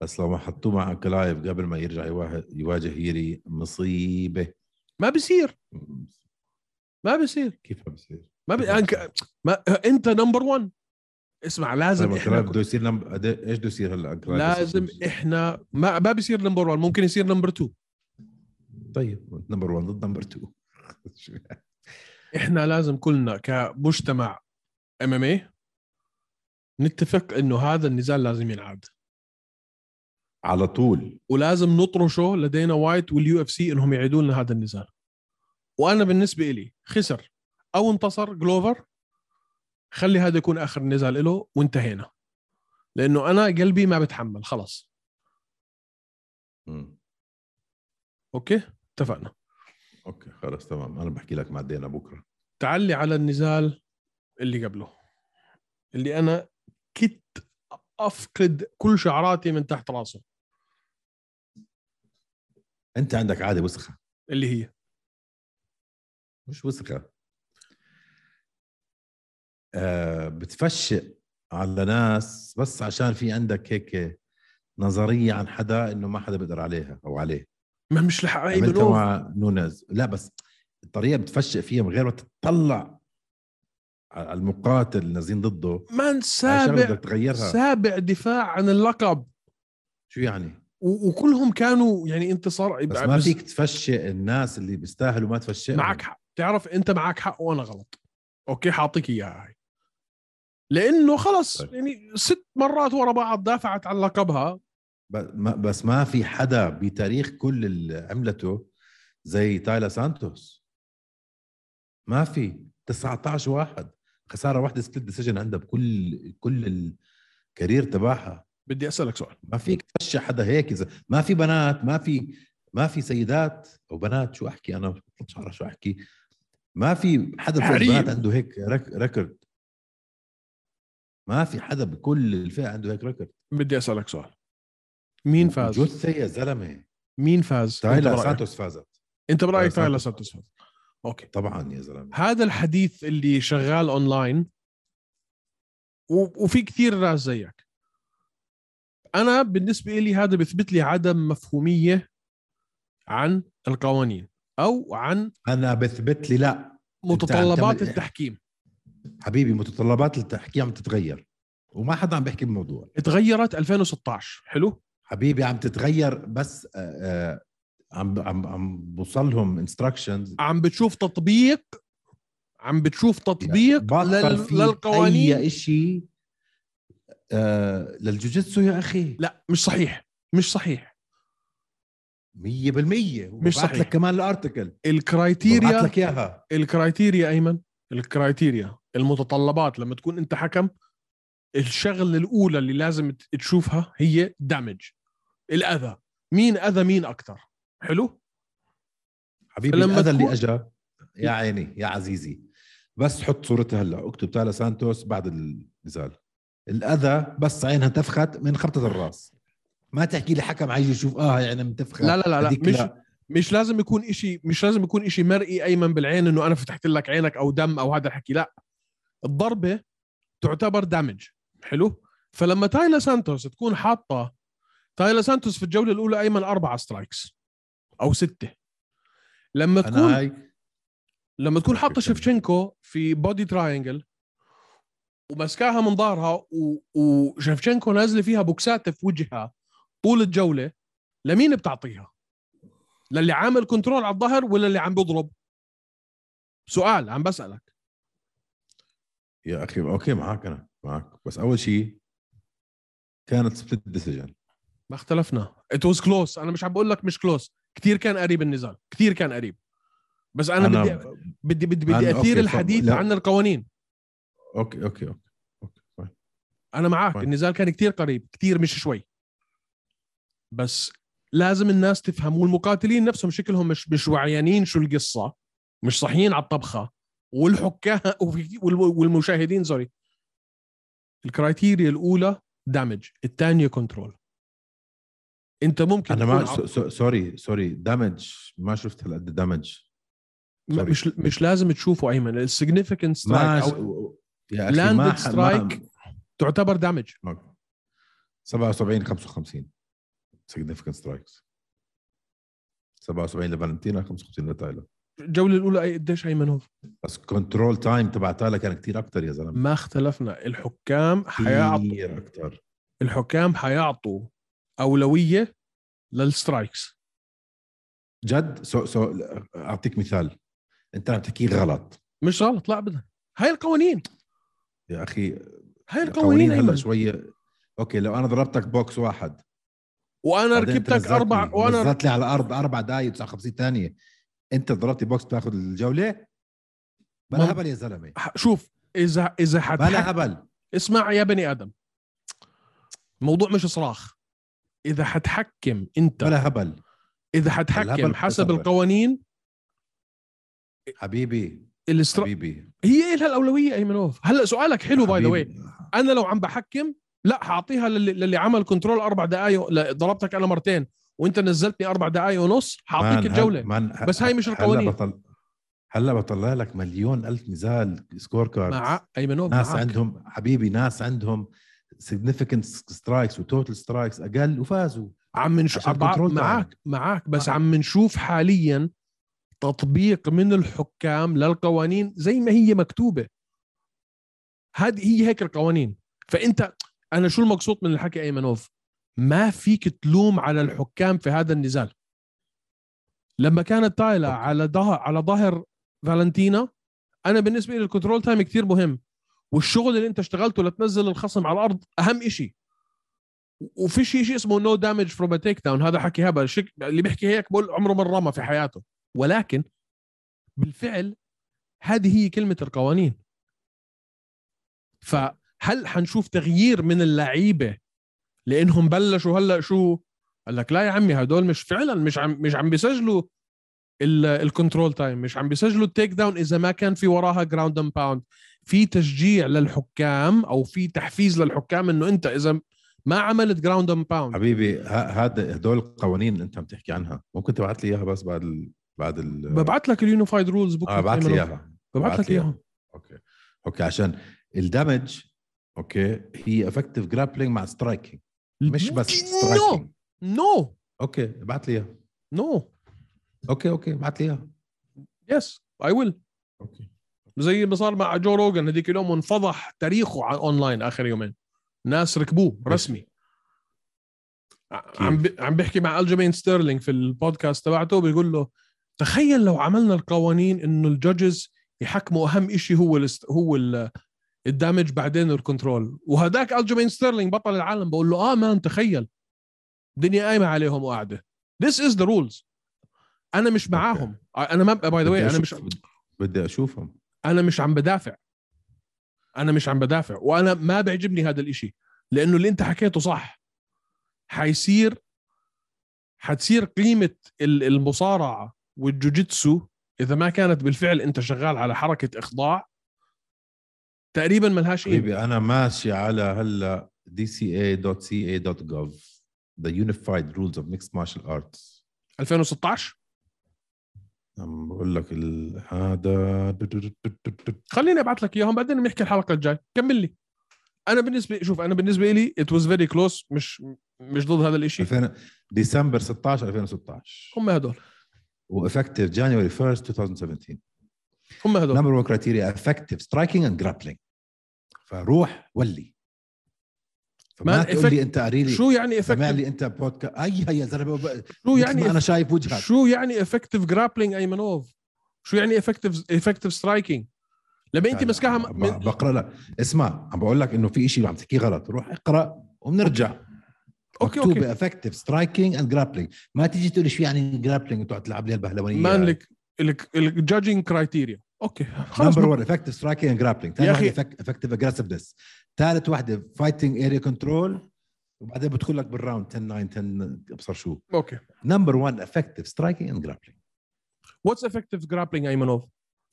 S3: بس لو ما حطوه مع انكلايف قبل ما يرجع يواجه, يواجه هيري مصيبه
S2: ما بيصير ما بيصير
S3: كيف طيب، ما بصير؟
S2: ما, بي... طيب، أنك... ما انت نمبر 1 اسمع لازم
S3: طيب
S2: احنا
S3: انكلايف بده يصير نم... قد- ايش بده يصير هلا انكلايف
S2: لازم احنا ما ما بيصير نمبر 1 ممكن يصير نمبر 2
S3: طيب نمبر 1 ضد نمبر 2
S2: احنا لازم كلنا كمجتمع ام ام اي نتفق انه هذا النزال لازم ينعاد
S3: [LAUGHS] على طول
S2: ولازم نطرشه لدينا وايت واليو اف سي انهم يعيدوا لنا هذا النزال وانا بالنسبه لي خسر او انتصر جلوفر خلي هذا يكون اخر نزال له وانتهينا لانه انا قلبي ما بتحمل خلص
S3: مم.
S2: اوكي اتفقنا
S3: اوكي خلص تمام انا بحكي لك مع دينا بكره
S2: تعلي على النزال اللي قبله اللي انا كنت افقد كل شعراتي من تحت راسه
S3: انت عندك عاده وسخه
S2: اللي هي
S3: مش وسخه آه بتفشق على ناس بس عشان في عندك هيك نظريه عن حدا انه ما حدا بيقدر عليها او عليه
S2: ما مش لحقاي
S3: عملتها
S2: منوف
S3: مع نونز لا بس الطريقه بتفشق فيها من غير ما تطلع على المقاتل اللي نازلين ضده
S2: مان
S3: عشان
S2: سابع
S3: بدك تغيرها
S2: سابع دفاع عن اللقب
S3: شو يعني
S2: و- وكلهم كانوا يعني انتصار
S3: بس ما فيك تفشق الناس اللي بيستاهلوا ما تفشقهم
S2: معك حق تعرف انت معك حق وانا غلط اوكي حاعطيك اياها هاي لانه خلص
S3: طيب.
S2: يعني ست مرات ورا بعض دافعت عن لقبها
S3: ب- ما- بس ما في حدا بتاريخ كل اللي عملته زي تايلا سانتوس ما في 19 واحد خساره واحده سبليت ديسيجن عندها بكل كل الكارير تبعها
S2: بدي اسالك سؤال
S3: ما فيك تفشى حدا هيك اذا ما في بنات ما في ما في سيدات او بنات شو احكي انا مش عارف شو احكي ما في حدا بفئه
S2: حريم.
S3: البنات عنده هيك رك- ريكورد ما في حدا بكل الفئه عنده هيك ريكورد
S2: بدي اسالك سؤال مين فاز؟
S3: جثه يا زلمه
S2: مين فاز؟ انت
S3: تايلا
S2: برأيك؟
S3: سانتوس فازت
S2: انت برايك
S3: تايلا
S2: تايلا
S3: سانتوس.
S2: سانتوس فاز اوكي
S3: طبعا يا زلمه
S2: هذا الحديث اللي شغال اونلاين و- وفي كثير ناس زيك انا بالنسبه لي هذا بيثبت لي عدم مفهوميه عن القوانين او عن
S3: انا بثبت لي لا
S2: متطلبات
S3: تعمل-
S2: التحكيم
S3: حبيبي متطلبات التحكي عم تتغير وما حدا عم بيحكي بالموضوع
S2: اتغيرت 2016 حلو
S3: حبيبي عم تتغير بس آه، آه، عم عم عم بوصلهم انستراكشنز
S2: عم بتشوف تطبيق عم بتشوف تطبيق
S3: بطل
S2: لل...
S3: في
S2: للقوانين
S3: اي شيء آه للجوجيتسو يا اخي
S2: لا مش صحيح مش صحيح
S3: 100%
S2: مش
S3: وبعت
S2: صحيح.
S3: لك كمان الارتكل
S2: الكرايتيريا
S3: ببعت لك اياها
S2: الكرايتيريا ايمن الكرايتيريا المتطلبات لما تكون انت حكم الشغله الاولى اللي لازم ت- تشوفها هي دامج الاذى مين اذى مين اكثر حلو
S3: حبيبي
S2: فلما
S3: لما هذا اللي
S2: تكون-
S3: اجا يا عيني يا عزيزي بس حط صورتها هلا اكتب تالا سانتوس بعد النزال الاذى بس عينها انتفخت من خبطه الراس ما تحكي لي حكم عايش يشوف اه يعني منتفخه
S2: لا لا لا, لا.
S3: هذيك
S2: مش مش لازم يكون إشي مش لازم يكون إشي مرئي ايمن بالعين انه انا فتحت لك عينك او دم او هذا الحكي لا الضربه تعتبر دامج حلو فلما تايلا سانتوس تكون حاطه تايلا سانتوس في الجوله الاولى ايمن اربعه سترايكس او سته لما تكون
S3: انا هاي
S2: لما تكون حاطه
S3: شفتها.
S2: شفشنكو في بودي تراينجل ومسكاها من ظهرها و... وشفشنكو نازله فيها بوكسات في وجهها طول الجوله لمين بتعطيها؟ للي عامل كنترول على الظهر ولا اللي عم بيضرب؟ سؤال عم بسالك
S3: يا اخي اوكي معك انا معك بس اول شيء كانت سبليت ديسيجن
S2: ما اختلفنا ات واز كلوز انا مش عم بقول لك مش كلوز كثير كان قريب النزال كثير كان قريب بس انا, أنا بدي بدي بدي, بدي
S3: أنا- أوكي،
S2: اثير
S3: طب-
S2: الحديث
S3: لا.
S2: عن القوانين
S3: اوكي اوكي اوكي اوكي فاين.
S2: انا معك
S3: طيب.
S2: النزال كان كتير قريب كتير مش شوي بس لازم الناس تفهم والمقاتلين نفسهم شكلهم مش مش وعيانين شو القصه مش صحيين على الطبخه والحكام [LAUGHS] وفي- والم- والمشاهدين سوري الكرايتيريا الاولى دامج الثانيه كنترول انت ممكن
S3: انا
S2: تكون
S3: ما
S2: ع-
S3: سو- سو- سوري سوري دامج ما شفت هالقد دامج
S2: ما-
S3: سوري.
S2: مش مش لازم تشوفه ايمن السيجنفكنت
S3: ما
S2: سترايك او
S3: يا اخي ما
S2: لاندد
S3: ح- ما-
S2: سترايك تعتبر دامج
S3: أوكي. 77 55 significant strikes 77 لفالنتينا 55 لتايلر
S2: الجوله الاولى أي- قديش ايمن هو
S3: بس كنترول تايم تبع تايلر كان يعني كتير اكثر يا زلمه
S2: ما اختلفنا الحكام حيعطوا
S3: كثير اكثر
S2: الحكام حيعطوا اولويه للسترايكس
S3: جد سو سو اعطيك مثال انت عم تحكي غلط
S2: مش غلط لا ابدا هاي القوانين
S3: يا اخي
S2: هاي القوانين
S3: القوانين هلا
S2: أيمن.
S3: شويه اوكي لو انا ضربتك بوكس واحد
S2: وانا
S3: بعدين أنت
S2: ركبتك
S3: نزلتني،
S2: اربع وانا
S3: نزلت لي على الارض اربع دقائق 59 ثانيه انت ضربتي بوكس بتاخذ الجوله
S2: مم.
S3: بلا هبل يا زلمه
S2: ح- شوف اذا اذا
S3: بلا
S2: حتحك...
S3: هبل
S2: اسمع يا بني ادم الموضوع مش صراخ اذا حتحكم انت
S3: بلا هبل
S2: اذا
S3: الهبل
S2: حتحكم حسب
S3: بتصرف.
S2: القوانين
S3: حبيبي
S2: الاسترا...
S3: حبيبي
S2: هي إلها الأولوية أيمنوف هلا سؤالك حلو باي ذا واي
S3: حبيبي.
S2: انا لو عم بحكم لا حاعطيها للي, للي عمل كنترول اربع دقائق ضربتك انا مرتين وانت نزلتني اربع دقائق ونص
S3: مان،
S2: حاعطيك
S3: هل-
S2: الجوله
S3: مان، ه-
S2: بس هاي مش
S3: هلا
S2: القوانين.
S3: بطل... هلا بطلع لك مليون الف نزال سكور كارد
S2: مع ايمنوف
S3: ناس
S2: معك.
S3: عندهم حبيبي ناس عندهم significant سترايكس وتوتال سترايكس اقل وفازوا
S2: عم نشوف
S3: عشان كنترول تايم.
S2: معك معك بس
S3: آه.
S2: عم نشوف حاليا تطبيق من الحكام للقوانين زي ما هي مكتوبه هذه هي هيك القوانين فانت انا شو المقصود من الحكي ايمنوف ما فيك تلوم على الحكام في هذا النزال لما كانت تايلا
S3: أوكي.
S2: على ظهر على ظهر فالنتينا انا بالنسبه لي الكنترول تايم كتير مهم والشغل اللي انت اشتغلته لتنزل الخصم على الارض اهم إشي وفي شيء شيء اسمه نو دامج فروم تيك داون هذا حكي هبل شك... اللي بيحكي هيك بقول عمره ما رمى في حياته ولكن بالفعل هذه هي كلمه القوانين فهل حنشوف تغيير من اللعيبه لانهم بلشوا هلا شو قال لك لا يا عمي هدول مش فعلا مش عم مش عم بيسجلوا ال- الكنترول تايم مش عم بيسجلوا التيك داون اذا ما كان في وراها جراوند اند باوند في تشجيع للحكام او في تحفيز للحكام انه انت اذا ما عملت جراوند اند باوند
S3: حبيبي ه- هذا هدول القوانين اللي انت عم تحكي عنها ممكن تبعت لي اياها بس بعد ال... بعد ال...
S2: ببعت لك اليونيفايد رولز بوك
S3: اه بعت لي اياها
S2: ببعت
S3: بعت
S2: لك
S3: لي
S2: اياهم
S3: اوكي اوكي عشان الدمج اوكي هي افكتيف جرابلينج مع سترايكينج مش بس striking.
S2: نو نو
S3: اوكي ابعت لي اياها
S2: نو
S3: اوكي اوكي ابعت لي اياها
S2: يس اي ويل
S3: اوكي
S2: زي ما صار مع جو روجن هذيك اليوم وانفضح تاريخه على اونلاين اخر يومين ناس ركبوه رسمي ع- عم بي- عم بيحكي مع الجيمين ستيرلينج في البودكاست تبعته بيقول له تخيل لو عملنا القوانين انه الجادجز يحكموا اهم شيء هو الاست... هو ال... الدامج بعدين الكنترول وهداك الجيمين ستيرلينج بطل العالم بقول له اه مان تخيل الدنيا قايمه عليهم وقاعده This is the rules انا مش معاهم انا ما باي ذا انا مش
S3: بدي اشوفهم
S2: انا مش عم بدافع انا مش عم بدافع وانا ما بيعجبني هذا الاشي لانه اللي انت حكيته صح حيصير حتصير قيمه ال- المصارعه والجوجيتسو اذا ما كانت بالفعل انت شغال على حركه اخضاع تقريبا ملهاش قيمه
S3: حبيبي انا ماشي على هلا dca.ca.gov the unified rules of mixed martial arts
S2: 2016
S3: عم بقول لك ال- هذا
S2: خليني ابعث لك اياهم بعدين بنحكي الحلقه الجاي كمل لي انا بالنسبه شوف انا بالنسبه لي ات واز فيري كلوز مش مش ضد هذا الاشي
S3: 2000 ديسمبر 16 2016
S2: هم هدول
S3: وافكتيف جانيوري 1 2017
S2: هم هدول
S3: نمبر 1 كرايتيريا افكتيف سترايكينج اند جرابلينج فروح ولي فما
S2: ما
S3: تقول
S2: effective-
S3: لي انت قري لي
S2: شو يعني
S3: سمع
S2: effective
S3: لي انت بودكاست اي هي يا زلمه بقى-
S2: شو
S3: مثل ما
S2: يعني
S3: انا شايف وجهك
S2: شو يعني افكتيف جرابلينج ايمنوف شو يعني افكتيف افكتيف سترايكينج لما انت
S3: يعني
S2: ماسكاها
S3: ب-
S2: م- من...
S3: بقرا لك اسمع عم بقول لك انه في شيء عم تحكيه غلط روح اقرا وبنرجع
S2: أوكي،
S3: مكتوب يعني
S2: أوكي.
S3: افكتيف سترايكينج اند جرابلينج ما تيجي تقول لي شو يعني جرابلينج وتقعد تلعب لي البهلوانيه
S2: مانلك الجادجينج كرايتيريا اوكي خلص
S3: نمبر 1 افكتيف سترايكينج اند جرابلينج
S2: يا
S3: ثاني
S2: أخي.
S3: واحده افكتيف اجريسفنس ثالث واحده فايتنج اريا كنترول وبعدين بدخل لك بالراوند 10 9 10 ابصر شو
S2: اوكي
S3: نمبر 1 افكتيف سترايكينج اند جرابلينج
S2: واتس افكتيف جرابلينج ايمنوف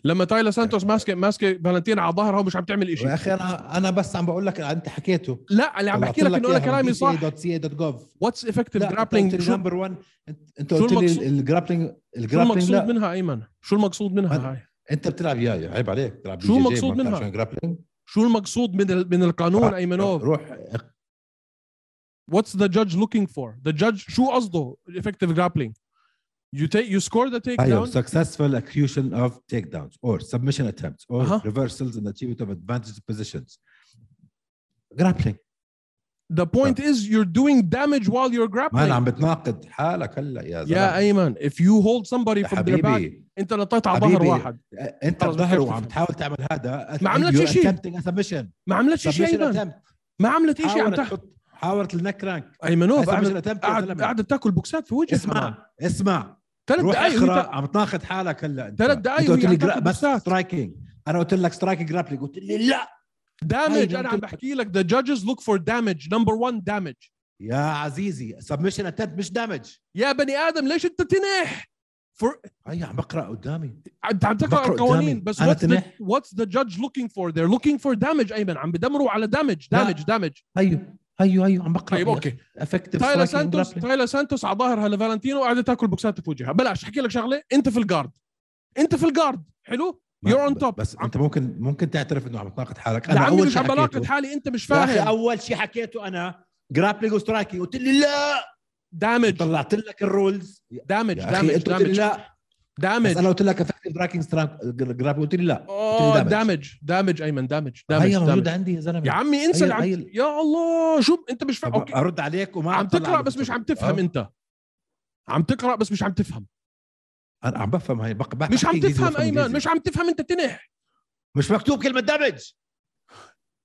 S2: لما تايلا سانتوس
S3: يعني
S2: ماسكه ماسكه فالنتين على ظهرها ومش عم تعمل
S3: يا
S2: شيء
S3: اخي انا انا بس عم بقول لك انت حكيته
S2: لا اللي عم بحكي لك انه انا كلامي صح
S3: .ca.gov
S2: واتس افكتيف جرابلينج شو
S3: طيب، نمبر 1 انت انت
S2: شو
S3: قلت لي
S2: المقصود؟
S3: الجرابلينج
S2: شو
S3: الجرابلينج
S2: المقصود
S3: لا
S2: منها ايمن شو المقصود
S3: أنا-
S2: منها هاي
S3: انت بتلعب يايا عيب عليك بتلعب
S2: شو
S3: بي جي جي، ما
S2: المقصود
S3: بتعرف
S2: منها؟
S3: شو يعني جرابلينج
S2: شو المقصود من ال- من القانون
S3: آه،
S2: ايمنوف
S3: روح اق-
S2: what's the judge looking for the judge شو قصده effective grappling you take you score the
S3: ايوه
S2: takedown
S3: successful execution of takedowns or submission attempts or
S2: أها.
S3: reversals and achievement of advantage positions جرابلينج
S2: the point is you're doing damage while you're
S3: ما انا
S2: grappling
S3: عم بتناقض حالك هلا يا زلمه
S2: طيب. يا ايمن if you hold somebody
S3: يا
S2: from their back
S3: حبيبي
S2: انت نطيت على ظهر
S3: حبيبي.
S2: واحد
S3: انت
S2: خلص
S3: بظهره
S2: بدي
S3: وعم
S2: أفهم.
S3: تحاول تعمل هذا
S2: ما عملتش
S3: You're
S2: شيء.
S3: attempting a submission
S2: ما عملتش شيء
S3: submission
S2: ايمن
S3: attempt
S2: ما عملت شيء عم
S3: حاولت
S2: تحكي
S3: تحط حاولت النك رانك
S2: ايمنوف
S3: submission
S2: قعدت-
S3: attempt يا
S2: قعد
S3: زلمة.
S2: قعدت تاكل بوكسات في وجهك كمان.
S3: اسمع اسمع
S2: ثلاث
S3: روح
S2: دقائق وهي
S3: اقرا
S2: تا-
S3: عم تناقض حالك هلا انت.
S2: ثلاث دقايق
S3: انت قلت
S2: وهي
S3: لي
S2: عم
S3: اقرا
S2: تاكل
S3: بس
S2: بوكسات.
S3: سترايكينج انا قلت لك سترايكينج جرابلينج قلت لي لا
S2: damage
S3: أيوة،
S2: انا
S3: أنت-
S2: عم بحكي لك the judges look for damage number one damage
S3: يا عزيزي سبمشن اتنت مش دامج
S2: يا بني ادم ليش انت تنح for
S3: هي عم بقرا قدامي
S2: عم عم تقرا
S3: بقرأ
S2: القوانين
S3: قدامي.
S2: بس
S3: أنا
S2: what's the,
S3: تنح.
S2: what's the judge looking for they're looking for damage ايمن عم بدمروا على damage
S3: لا.
S2: damage damage
S3: هيو هيو هيو عم بقرا
S2: طيب اوكي
S3: افكتيف
S2: تايلا سانتوس طيب، تايلا سانتوس على ظهرها لفالنتينو وقاعده تاكل بوكسات في وجهها بلاش احكي لك شغله انت في الجارد انت في الجارد حلو يور اون توب
S3: بس انت ممكن ممكن تعترف انه عم تناقض حالك
S2: يا
S3: انا
S2: عمي
S3: اول
S2: مش
S3: شيء
S2: عم بلاقط
S3: حكيته
S2: حالي انت مش
S3: يا اخي
S2: فاهم
S3: اول شيء حكيته انا جرابلينج وسترايكينج قلت لي لا
S2: دامج
S3: طلعت لك الرولز
S2: دامج
S3: يا اخي
S2: دامج
S3: انت قلت لي
S2: دامج
S3: لا بس
S2: دامج
S3: انا قلت لك افكتيف سترايكينج جرابلينج قلت لي لا
S2: اوه
S3: damage.
S2: دامج دامج ايمن دامج
S3: هي
S2: دامج
S3: موجوده
S2: دامج
S3: عندي يا زلمه
S2: يا عمي انسى
S3: هي-
S2: اللي عم-
S3: هي-
S2: يا الله شو انت مش فاهم
S3: طب
S2: اوكي
S3: ارد عليك وما
S2: عم
S3: أطلع
S2: تقرا
S3: على
S2: بس مش
S3: الكتب.
S2: عم تفهم
S3: آه.
S2: انت عم تقرا بس مش عم تفهم
S3: انا عم بفهم هاي بق... بحكي
S2: مش عم
S3: إنجليزي
S2: تفهم
S3: وبفهم
S2: ايمن
S3: إنجليزي.
S2: مش عم تفهم انت تنح
S3: مش مكتوب كلمه دمج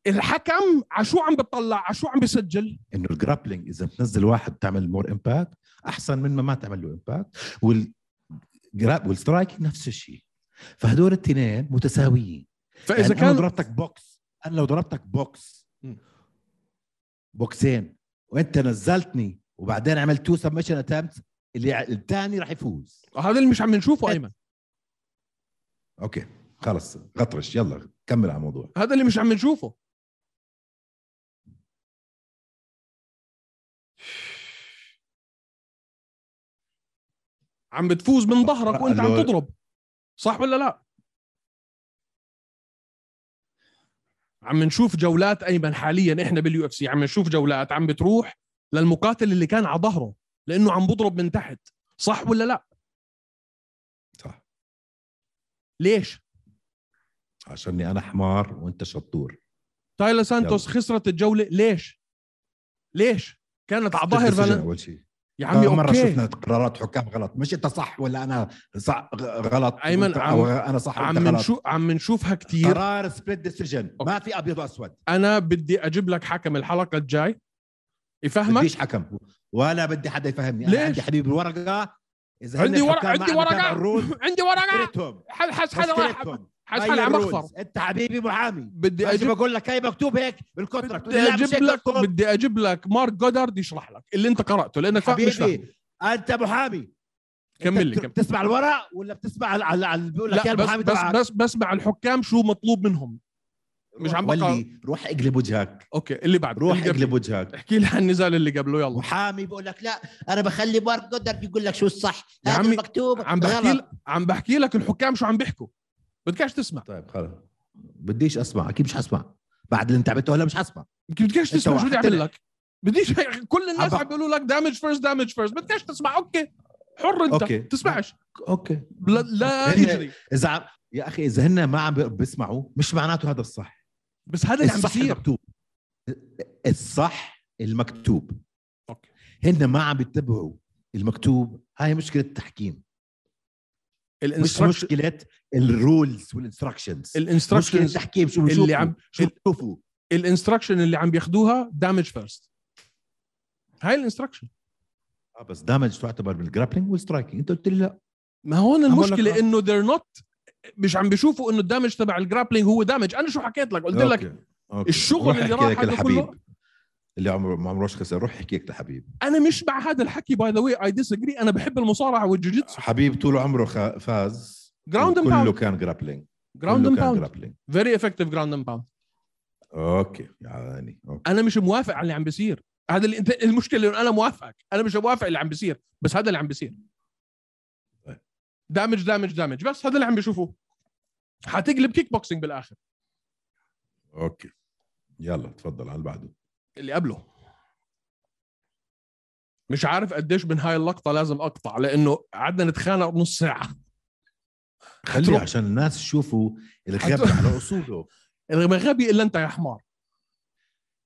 S2: الحكم عشو عم بتطلع عشو عم بسجل
S3: انه الجرابلينج اذا بتنزل واحد بتعمل مور امباكت احسن من ما ما تعمل له امباكت وال جراب والسترايكينج نفس الشيء فهدول الاثنين متساويين
S2: فاذا
S3: يعني انا لو
S2: كان
S3: ضربتك بوكس انا لو ضربتك بوكس
S2: مم.
S3: بوكسين وانت نزلتني وبعدين عملت تو سبمشن اتمت اللي الثاني راح يفوز
S2: هذا اللي مش عم نشوفه ايمن
S3: اوكي خلص غطرش يلا كمل على الموضوع
S2: هذا اللي مش عم نشوفه عم بتفوز من ظهرك وانت عم
S3: قالوا-
S2: تضرب صح ولا لا عم نشوف جولات ايمن حاليا احنا باليو اف سي عم نشوف جولات عم بتروح للمقاتل اللي كان على ظهره لانه عم بضرب من تحت صح ولا لا
S3: صح
S2: ليش
S3: عشاني انا حمار وانت شطور
S2: تايلا سانتوس خسرت الجوله ليش؟ ليش؟ كانت على ظهر
S3: السجن
S2: فالن...
S3: اول شيء
S2: يا عمي
S3: آه، مرة
S2: اوكي
S3: شفنا قرارات حكام غلط مش انت صح ولا انا صح غ- غلط
S2: أيمن،
S3: وأنت-
S2: عم-
S3: انا صح وأنت
S2: عم
S3: غلط.
S2: نشوف عم نشوفها كثير
S3: قرار سبليت ديسيجن ما في ابيض واسود
S2: انا بدي اجيب لك حكم الحلقه الجاي يفهمك
S3: بديش حكم ولا بدي حدا يفهمني انا
S2: ليش؟
S3: عندي حبيبي الورقه اذا هن
S2: عندي ورق-
S3: الحكام ما
S2: عندي
S3: عم
S2: ورقة.
S3: يتابعوا الرول،
S2: عندي ورقه
S3: اشتريتهم
S2: حد حس حدا واحد-
S3: اشتريتهم
S2: حس
S3: هاي
S2: حدا عم
S3: الرولز.
S2: اخفر
S3: انت حبيبي محامي
S2: بدي
S3: بدي
S2: اجيب
S3: بقول لك هي مكتوب هيك بالكونتراكت
S2: بدي اجيب لك بدي اجيب لك مارك جودارد يشرح لك اللي انت قراته لانك فا- مش فاهم
S3: حبيبي انت محامي
S2: كمل
S3: أنت
S2: لي، كمل.
S3: بتسمع الورق ولا بتسمع على على- على بيقول لك يا
S2: لا بس
S3: المحامي
S2: بس
S3: تبعك
S2: بس بسمع الحكام شو مطلوب منهم مش عم بقرا.
S3: ولي روح اقلب وجهك
S2: اوكي اللي بعد
S3: روح اقلب وجهك
S2: احكي لي عن النزال اللي قبله يلا
S3: محامي بيقول لك لا انا بخلي مارك جودر يقول لك شو الصح
S2: يا عمي،
S3: هذا مكتوب
S2: عم بحكي
S3: غلط
S2: لك عم بحكي لك الحكام شو عم بيحكوا بدكش تسمع
S3: طيب خلص بديش اسمع اكيد مش حسمع بعد اللي انت عملته هلا مش حسمع
S2: بدكش تسمع شو بدي
S3: وحدتني.
S2: اعمل لك بديش كل الناس
S3: عم بق-
S2: عم بيقولوا لك دامج فيرست دامج فيرست بدكش تسمع اوكي حر انت
S3: أوكي. إيه.
S2: تسمعش
S3: اوكي
S2: لا, لا
S3: هن-
S2: يجري
S3: اذا عم... يا اخي اذا هن ما عم بي- بيسمعوا مش معناته هذا الصح
S2: بس هذا اللي عم
S3: الصح
S2: بيصير
S3: المكتوب الصح المكتوب
S2: أوكي.
S3: هن ما عم بيتبعوا المكتوب هاي مشكله التحكيم مش
S2: الانستركشن
S3: مشكله الرولز والانستراكشنز مشكله
S2: الانستركشنز
S3: التحكيم شو
S2: اللي
S3: بيشوفوا
S2: عم-
S3: شو بيشوفوا
S2: الانستركشن اللي عم بياخدوها دامج فيرست هاي الانستركشن
S3: اه بس دامج تعتبر بالجرابلينج والسترايكينج انت قلت لي لا
S2: ما هون
S3: لك
S2: المشكله
S3: آه.
S2: انه they're نوت مش عم بيشوفوا انه الدامج تبع الجرابلينج هو دامج انا شو حكيت لك قلت لك
S3: أوكي. أوكي.
S2: الشغل
S3: روح
S2: اللي
S3: احكي
S2: راح
S3: لك
S2: هذا
S3: الحبيب.
S2: كله.
S3: اللي عمره ما عمروش خسر روح احكي لك لحبيب
S2: انا مش مع هذا الحكي باي ذا واي اي disagree انا بحب المصارعه والجوجيتسو
S3: حبيب طول عمره خ- فاز
S2: جراوند اند
S3: كله
S2: باوند
S3: كان جرابلينج
S2: جراوند
S3: كله
S2: اند
S3: كان
S2: باوند
S3: جرابلينج
S2: فيري افكتيف جراوند اند باوند
S3: اوكي يعني اوكي
S2: انا مش موافق على اللي عم بيصير هذا اللي انت المشكله انه انا موافقك انا مش موافق اللي عم بيصير بس هذا اللي عم بيصير
S3: طيب.
S2: دامج دامج دامج بس هذا اللي عم بيشوفوه حتقلب كيك بوكسينج بالاخر
S3: اوكي يلا تفضل على اللي بعده
S2: اللي قبله مش عارف قديش من هاي اللقطة لازم أقطع لأنه قعدنا نتخانق نص ساعة
S3: خليه
S2: هتروح.
S3: عشان الناس يشوفوا الغبي
S2: هتروح. [LAUGHS]
S3: على اصوله يعني.
S2: ما غبي إلا أنت يا حمار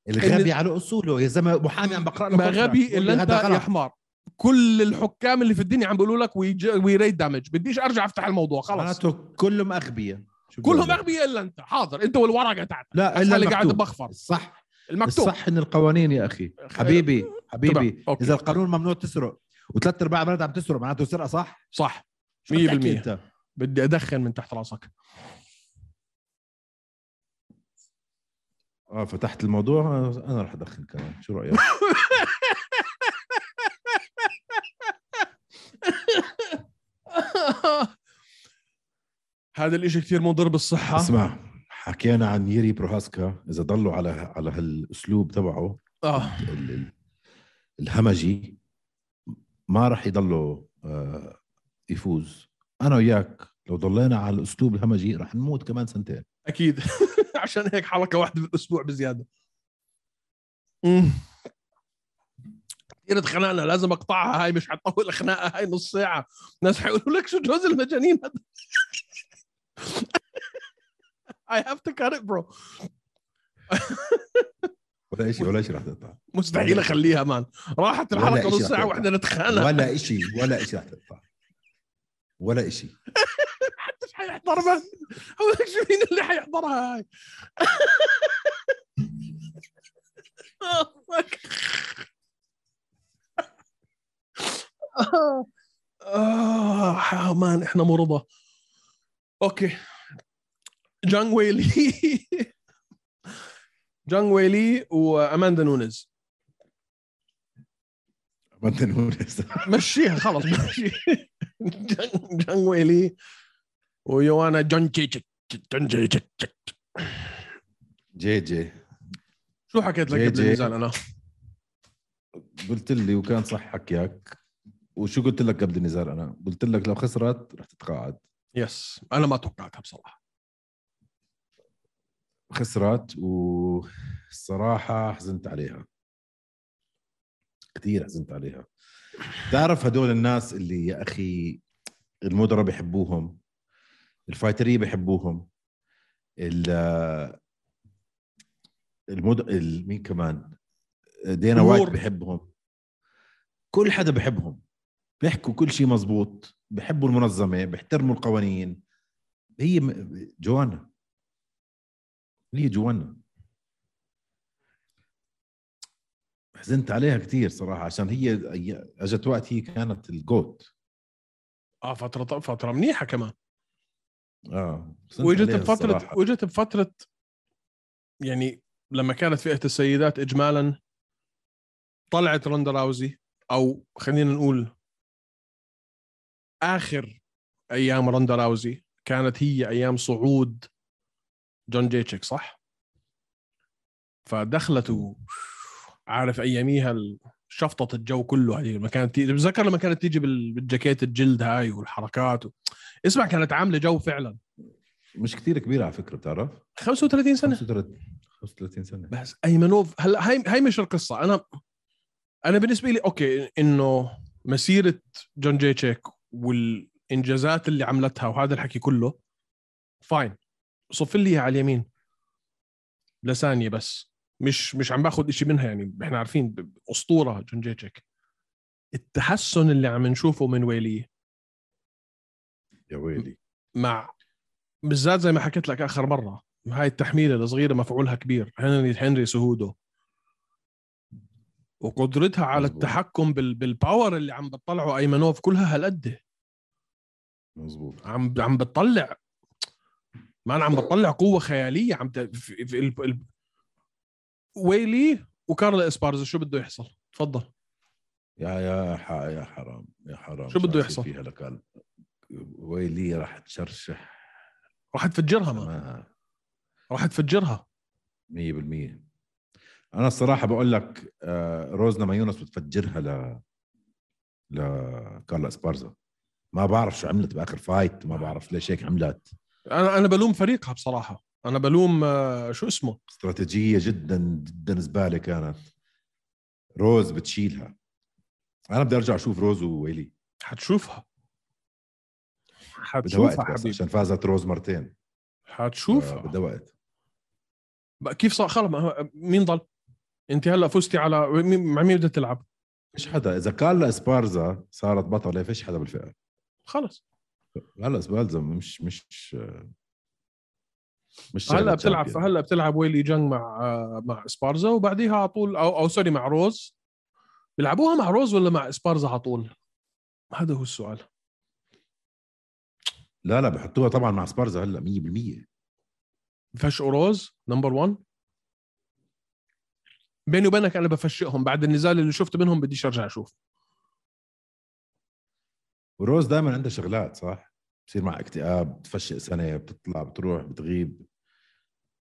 S3: الغبي على اصوله يا زلمه محامي عم بقرا له
S2: ما
S3: contract.
S2: غبي
S3: بقول
S2: إلا
S3: يعني. لي
S2: أنت
S3: هذا
S2: يا
S3: غلط
S2: حمار كل الحكام اللي في الدنيا عم بيقولوا لك وي ريت دامج بديش أرجع أفتح الموضوع خلص
S3: معناته كلهم اغبياء شو بدي أقول
S2: كلهم
S3: لك؟
S2: أغبياء إلا أنت حاضر أنت والورقة تاعتك
S3: لا
S2: بس
S3: الا
S2: اللي قاعد
S3: المكتوب.
S2: بخفر
S3: الصح
S2: المكتوب
S3: الصح ان القوانين يا اخي حبيبي حبيبي
S2: أوكي.
S3: اذا القانون ممنوع تسرق وثلاث ارباع بلد عم تسرق معناته سرقه صح
S2: صح
S3: شو بدك
S2: 100%.
S3: أنت؟
S2: بدي أدخن من تحت [LAUGHS] راسك
S3: اه فتحت الموضوع آه، انا رح ادخن كمان شو رايك
S2: هذا الإشي كثير مضر بالصحة
S3: اسمع حكينا عن ييري بروهاسكا اذا ضلوا على على هالاسلوب تبعه
S2: آه
S3: ال- ال- الهمجي ما راح يضلوا آه، يفوز انا وياك لو ضلينا على الاسلوب الهمجي راح نموت كمان سنتين
S2: اكيد [LAUGHS] عشان هيك حلقه واحده بالاسبوع بزياده امم كثير اتخانقنا لازم اقطعها هاي مش حطول الخناقه هاي نص ساعه ناس حيقولوا لك شو جوز المجانين هذا [LAUGHS] I have to cut it bro
S3: ولا شيء ولا شيء راح تقطع
S2: مستحيل اخليها مان راحت
S3: ولا
S2: الحلقه
S3: إشي
S2: نص ساعه
S3: حتقطع.
S2: واحنا نتخانق
S3: ولا شيء ولا شيء راح تقطع ولا شيء
S2: مش حيحضر من هو شو مين اللي حيحضرها هاي آه مان احنا مرضى اوكي جانغ [LAUGHS] ويلي جانغ ويلي واماندا نونز
S3: بدنا نقول هسه.
S2: مشيها [LAUGHS] خلص مشي جانغ- جانغ ويلي ويوانا جون تشيتشك جون تشيتشك
S3: جي جي
S2: شو حكيت لك
S3: جي
S2: قبل
S3: جي.
S2: النزال انا؟
S3: قلت لي وكان صح حكيك وشو قلت لك قبل النزال انا قلت لك لو خسرت رح تتقاعد
S2: يس انا ما توقعتها بصراحه
S3: خسرت والصراحة حزنت عليها كثير حزنت عليها تعرف هدول الناس اللي يا أخي المدراء بيحبوهم الفايترية بيحبوهم ال المد... ال- مين كمان دينا وايت
S2: الجمهور.
S3: بيحبهم كل حدا بحبهم بيحكوا كل شيء مزبوط بحبوا المنظمه بيحترموا القوانين هي م- جوانا هي جوانا حزنت عليها كثير صراحه عشان هي أي- اجت وقت هي كانت الجوت
S2: اه فتره فتره منيحه كمان آه.
S3: اه حزنت
S2: واجت
S3: عليها
S2: بفتره
S3: الصراحة.
S2: واجت بفتره يعني لما كانت فئه السيدات اجمالا طلعت روندا راوزي او خلينا نقول اخر ايام روندا راوزي كانت هي ايام صعود جون جيتشيك صح؟ فدخلت و- عارف اياميها ال- شفطت الجو كله هذه لما كانت تيجي بتذكر لما كانت تيجي بال- بالجاكيت الجلد هاي والحركات و... اسمع كانت عامله جو فعلا
S3: مش كثير كبيره على فكره بتعرف
S2: 35 سنه
S3: 35 35 سنه
S2: بس ايمنوف هلا هاي هاي مش القصه انا انا بالنسبه لي اوكي انه مسيره جون جي تشيك والانجازات اللي عملتها وهذا الحكي كله فاين صف لي إياها على اليمين لثانيه بس مش مش عم باخذ إشي منها يعني احنا عارفين ب- اسطوره جون جي تشيك التحسن اللي عم نشوفه من ويلي
S3: يا ويلي
S2: مع بالذات زي ما حكيت لك اخر مره هاي التحميله الصغيره مفعولها كبير هنري هنري سهوده وقدرتها على
S3: مزبوط.
S2: التحكم بال... بالباور اللي عم بتطلعه ايمنوف كلها هالقد
S3: مزبوط
S2: عم عم بتطلع ما انا عم بتطلع قوه خياليه عم ت... في... في... ال... ال... ويلي وكارلا اسبارزا شو بده يحصل تفضل
S3: يا يا ح- يا حرام يا حرام
S2: شو بده
S3: راسي
S2: يحصل؟
S3: فيها لقلب ويلي راح تشرشح
S2: راح تفجرها ما
S3: تمام
S2: راح تفجرها
S3: 100% انا الصراحه بقول لك آه، روزنا ما يونس بتفجرها ل لكارلا اسبارزا ما بعرف شو عملت باخر فايت ما بعرف ليش هيك عملت
S2: انا انا بلوم فريقها بصراحه انا بلوم آه، شو اسمه
S3: استراتيجيه جدا جدا زباله كانت روز بتشيلها انا بدي ارجع اشوف روز وويلي
S2: حتشوفها
S3: بدها وقت
S2: حتشوفها
S3: بس
S2: حبيبي
S3: عشان فازت روز مرتين آه،
S2: حتشوفها
S3: بدها وقت
S2: بقى كيف صار خلص ما هو- مين ضل؟ انت هلا فزتي على مين- مع مين بدها تلعب؟
S3: فيش حدا اذا كارلا اسبارزا صارت بطله فيش حدا بالفئه
S2: خلص
S3: هلا اسبارزا مش مش مش
S2: هلا
S3: شغلة
S2: بتلعب
S3: champion.
S2: هلا بتلعب ويلي جنگ مع آه، مع سبارزا وبعديها على طول او او سوري مع روز بيلعبوها مع روز ولا مع سبارزا على طول؟ هذا هو السؤال
S3: لا لا بحطوها طبعا مع اسبارزا هلا 100%
S2: فشقوا روز نمبر 1 بيني وبينك انا بفشقهم بعد النزال اللي شفته منهم بديش ارجع اشوف
S3: وروز دائما عندها شغلات صح بصير مع اكتئاب بتفشق سنه بتطلع بتروح بتغيب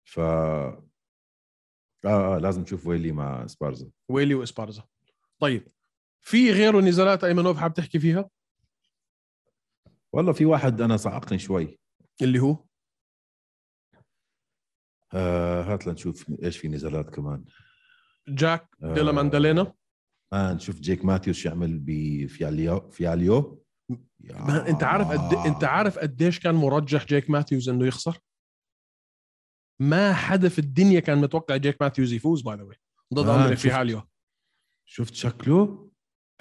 S3: ف اه اه لازم نشوف ويلي مع اسبارزا
S2: ويلي واسبارزا طيب في غيره نزالات ايمنوف حاب تحكي فيها
S3: والله في واحد انا صعقني شوي
S2: اللي هو
S3: آه هات لنشوف ايش في نزالات كمان
S2: جاك
S3: آه.
S2: ديلا ماندالينا
S3: آه نشوف جيك ماثيوس شو يعمل بفياليو فياليو
S2: ما انت عارف قد انت عارف قديش كان مرجح جيك ماثيوز انه يخسر ما حدا في الدنيا كان متوقع جيك ماثيوز يفوز باي ذا ضد
S3: آه،
S2: اندري
S3: شفت.
S2: فيهاليو
S3: شفت شكله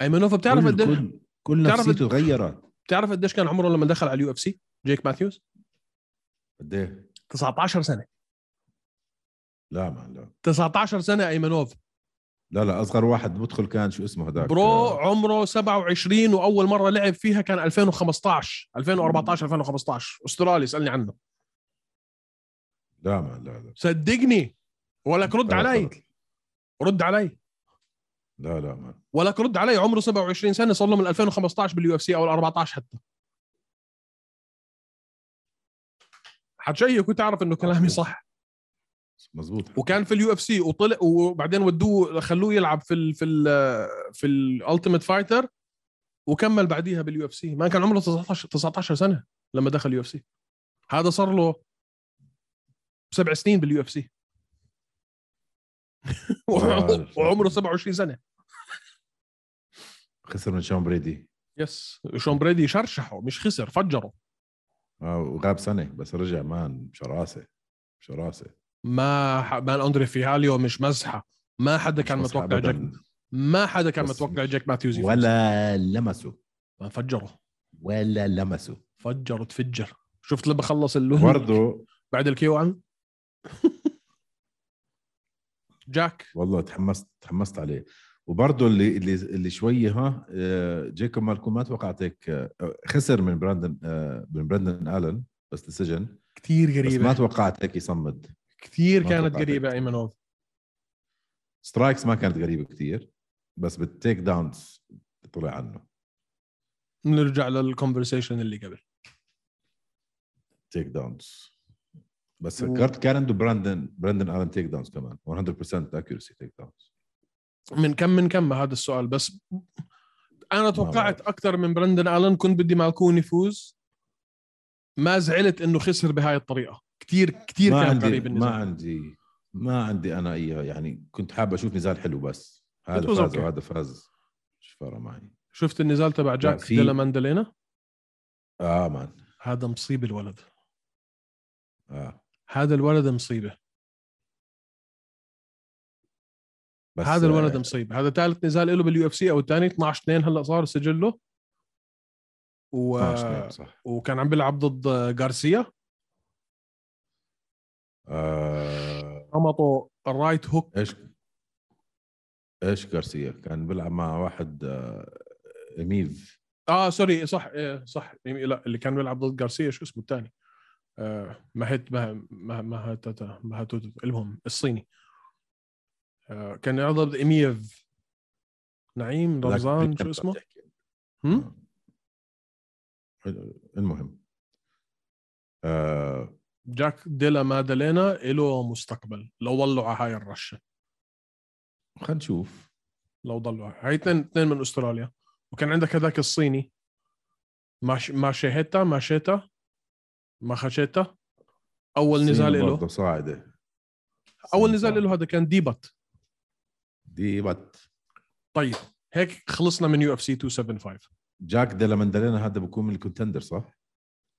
S2: ايمنوف بتعرف
S3: كل-
S2: قديش
S3: كل, كل
S2: بتعرف
S3: نفسيته
S2: إيه- قد-
S3: تغيرت
S2: بتعرف قديش كان عمره لما دخل على اليو اف سي جيك ماثيوز
S3: قد ايه
S2: 19 سنه
S3: لا ما لا
S2: 19 سنه ايمنوف
S3: لا لا اصغر واحد بدخل كان شو اسمه هذاك
S2: برو عمره 27 واول مره لعب فيها كان 2015 2014 2015 استرالي اسالني عنه
S3: لا ما لا لا
S2: صدقني ولك رد علي رد علي
S3: لا لا ما
S2: ولك رد علي عمره 27 سنه صار له من 2015 باليو اف سي او ال 14 حتى حتشيك وتعرف انه كلامي صح
S3: مزبوط
S2: وكان في اليو اف سي وطلع وبعدين ودوه خلوه يلعب في ال في ال في الالتيميت فايتر وكمل بعديها باليو اف سي ما كان عمره 19 19 سنه لما دخل اليو اف سي هذا صار له سبع سنين باليو اف
S3: [LAUGHS]
S2: سي
S3: آه،
S2: [LAUGHS] وعمره 27 سنه
S3: خسر من شون بريدي
S2: يس شون بريدي شرشحه مش خسر فجره
S3: آه وغاب سنه بس رجع مان شراسه شراسه
S2: ما ح- مان اندري فيهاليو مش مزحه ما حدا كان
S3: مش مزح
S2: متوقع
S3: أبداً.
S2: جاك ما حدا كان
S3: بس-
S2: متوقع جاك ماثيوز يفوز.
S3: ولا لمسه
S2: ما فجره
S3: ولا لمسه
S2: [LAUGHS] فجره تفجر شفت لما خلص اللون
S3: برضه
S2: بعد الكيو
S3: [LAUGHS]
S2: عم جاك
S3: والله تحمست تحمست عليه وبرضه اللي اللي اللي شوي ها آه، جيكوب مالكوم ما توقعت هيك آه، خسر من براندن آه، من براندن الن بس ديسيجن
S2: كثير
S3: بس ما
S2: قريبه
S3: توقعت هيك يصمد
S2: كثير
S3: ما
S2: كانت
S3: توقعت
S2: قريبه ايمنوف
S3: سترايكس ما كانت غريبه كثير بس بالتيك داونز طلع عنه
S2: بنرجع للكونفرسيشن اللي قبل
S3: تيك داونز بس
S2: و-
S3: فكرت كان عنده براندن براندن الن تيك داونز كمان 100% اكيورسي تيك داونز
S2: من كم من كم هذا السؤال بس انا توقعت
S3: بعرف.
S2: اكثر من برندن الن كنت بدي مالكون يفوز ما زعلت انه خسر بهاي الطريقه كثير كثير
S3: ما
S2: كان
S3: عندي
S2: قريب
S3: ما
S2: النزال
S3: عندي ما عندي انا اياها يعني كنت حابب اشوف نزال حلو بس
S2: It
S3: هذا
S2: was
S3: فاز
S2: okay.
S3: وهذا فاز شو فارق معي
S2: شفت النزال تبع جاك
S3: في-
S2: ديلا ماندلينا
S3: اه مان
S2: هذا مصيبه الولد
S3: اه
S2: هذا الولد مصيبه
S3: بس
S2: هذا الولد
S3: آه،
S2: مصيبه هذا ثالث نزال له باليو اف سي او الثاني 12 2 هلا صار سجله و...
S3: 12 نعم، صح
S2: وكان عم بيلعب ضد غارسيا
S3: آه
S2: رمطه الرايت هوك
S3: ايش ايش غارسيا كان بيلعب مع واحد آه ميف
S2: اه سوري صح إيه صح يعني لا اللي كان بيلعب ضد جارسيا شو اسمه الثاني آه مهت مه مه مهتتا مهتوتا المهم الصيني آه كان يلعب ضد ايميف نعيم
S3: هذاك
S2: رمضان
S3: اللي كنت
S2: شو اسمه
S3: بتحكي.
S2: هم؟
S3: المهم آه
S2: جاك ديلا مادالينا له مستقبل لو ضلوا على هاي الرشه
S3: خلينا نشوف
S2: لو ضلوا على- هاي اثنين اثنين من استراليا وكان عندك هذاك الصيني ماش ماشيهيتا ماشيتا ماخاشيتا اول نزال
S3: الصين
S2: له
S3: برضه صاعده
S2: اول
S3: الصين
S2: نزال
S3: صاعدة.
S2: له هذا كان ديبت
S3: دي بات
S2: طيب هيك خلصنا من يو اف سي 275
S3: جاك ديلا ماندالينا هذا بكون من الكونتندر صح؟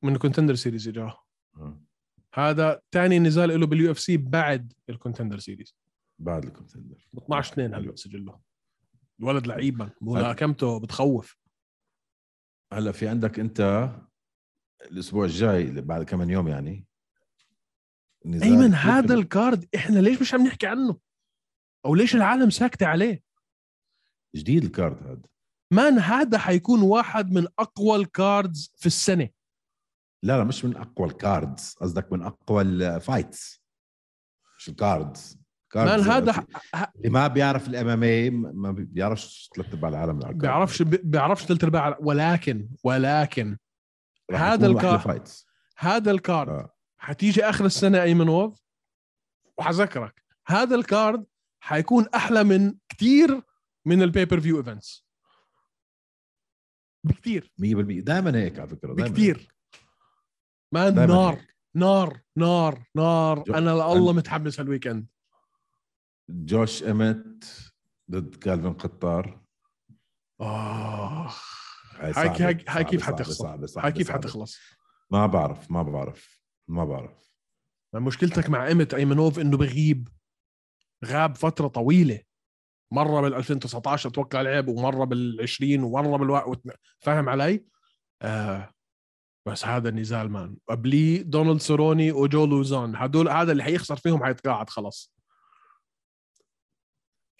S2: من الكونتندر سيريز اجاه
S3: آه.
S2: هذا ثاني نزال له باليو اف سي بعد الكونتندر سيريز
S3: بعد الكونتندر
S2: 12 2 هلا سجله الولد لعيب من. ملاكمته بتخوف
S3: هلا في عندك انت الاسبوع الجاي اللي بعد كم من يوم يعني نزال
S2: ايمن
S3: كتير
S2: هذا
S3: حلو.
S2: الكارد احنا ليش مش عم نحكي عنه او ليش العالم ساكته عليه
S3: جديد الكارد هذا
S2: مان هذا حيكون واحد من اقوى الكاردز في السنه
S3: لا لا مش من اقوى الكاردز قصدك من اقوى الفايتس مش الكاردز
S2: مان
S3: كاردز
S2: هذا
S3: يعني اللي ما بيعرف الام ام اي ما بيعرفش ثلاث ارباع العالم بيلعب كاردز.
S2: بيعرفش بيعرفش ثلاث ارباع ولكن ولكن
S3: راح
S2: هذا
S3: يكونوا أحلى
S2: الكار-
S3: فايتس
S2: هذا الكارد
S3: آه.
S2: حتيجي اخر السنه ايمنوف وحذكرك هذا الكارد حيكون احلى من كثير من البيبر فيو ايفنتس بكثير
S3: 100% دائما هيك على فكره دايماً
S2: بكثير ما
S3: دايماً
S2: نار
S3: هيك.
S2: نار نار نار
S3: جو-
S2: انا لله متحمس هالويكند
S3: جوش امت ضد كالفين قطار
S2: اخ
S3: هاي
S2: هاي-
S3: صعبة،
S2: هاي- هاي
S3: صعبة،
S2: كيف
S3: صعبة،
S2: حتخسر؟
S3: صعبة، صعبة،
S2: هاي كيف
S3: صعبة.
S2: حتخلص
S3: ما بعرف ما بعرف ما بعرف
S2: ما مشكلتك مع ايمت ايمنوف انه بغيب غاب فتره طويله مره بال 2019 اتوقع لعب ومره بال 20 ومره بال فاهم علي؟ آه بس هذا النزال مان قبليه دونالد سوروني وجو لوزون هدول هذا اللي حيخسر فيهم حيتقاعد خلاص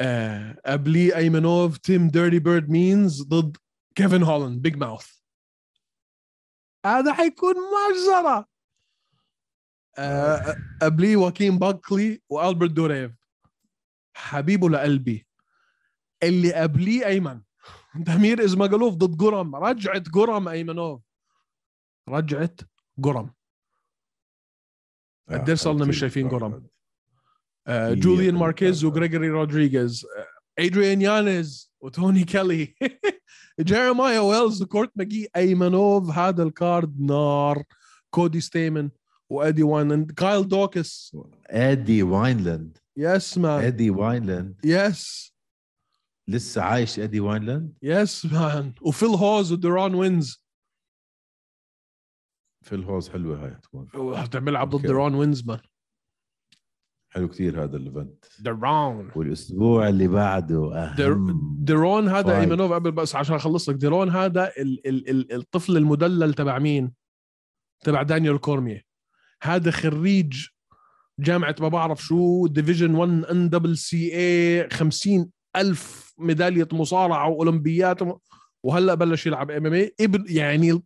S2: آه قبليه ايمنوف تيم ديرتي بيرد مينز ضد كيفن هولاند بيج ماوث هذا حيكون مجزره آه قبليه واكين باكلي والبرت دوريف حبيبه لقلبي اللي قبليه ايمن دمير ازماجلوف ضد جرم رجعت جرم ايمنوف رجعت جرم
S3: آه،
S2: قديش صرنا مش
S3: كتير
S2: شايفين
S3: كتار.
S2: جرام؟ آه،
S3: هي
S2: جوليان
S3: اللي
S2: ماركيز
S3: كانت-
S2: وغريغوري رودريغيز آه، ادريان يانز وتوني كيلي [LAUGHS] جيرمايا ويلز وكورت ماجي ايمنوف هذا الكارد نار كودي ستيمن وادي واينلاند كايل دوكس
S3: ادي واينلاند
S2: يس مان
S3: ادي واينلاند
S2: يس
S3: لسه عايش ادي واينلاند
S2: يس مان وفيل هوز وديرون وينز
S3: في الهوز حلوه هاي تكون
S2: بيلعب ضد
S3: أوكي.
S2: ديرون وينز مان
S3: حلو كثير هذا الايفنت
S2: درون
S3: والاسبوع اللي بعده
S2: در-
S3: اهم
S2: درون هذا
S3: فايت.
S2: ايمنوف قبل بس عشان اخلص لك درون هذا ال ال ال الطفل المدلل تبع مين؟ تبع دانيال كورميه هذا خريج جامعه ما بعرف شو ديفيجن 1 ان دبل سي اي 50 الف ميداليه مصارعه واولمبيات وم- وهلا بلش يلعب ام ام اي ابن يعني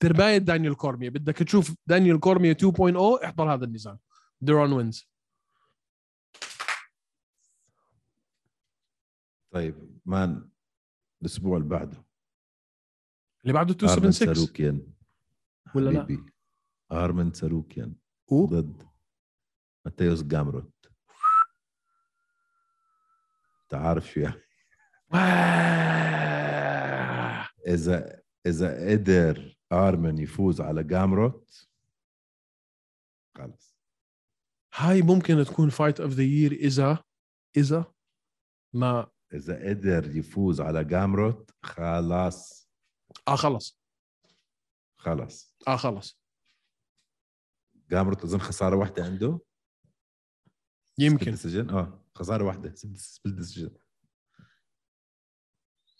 S2: تربايه دانيال كورميه بدك تشوف دانيال كورميه 2.0 oh، احضر هذا النزال درون وينز
S3: طيب مان الاسبوع اللي بعده
S2: اللي بعده
S3: ارمن
S2: 276
S3: ساروكيان
S2: ولا لا؟
S3: حبيبي ارمن ساروكيان
S2: هو؟
S3: ضد ماتيوس جامروت انت عارف شو يعني
S2: آه.
S3: اذا اذا قدر ارمن يفوز على جامروت خلص
S2: هاي ممكن تكون فايت اوف ذا يير اذا اذا ما
S3: اذا قدر يفوز على جامروت خلاص
S2: اه خلص
S3: خلص
S2: اه خلص
S3: جامروت اظن خساره واحده عنده
S2: يمكن
S3: سجن اه خساره واحده سبلت سجن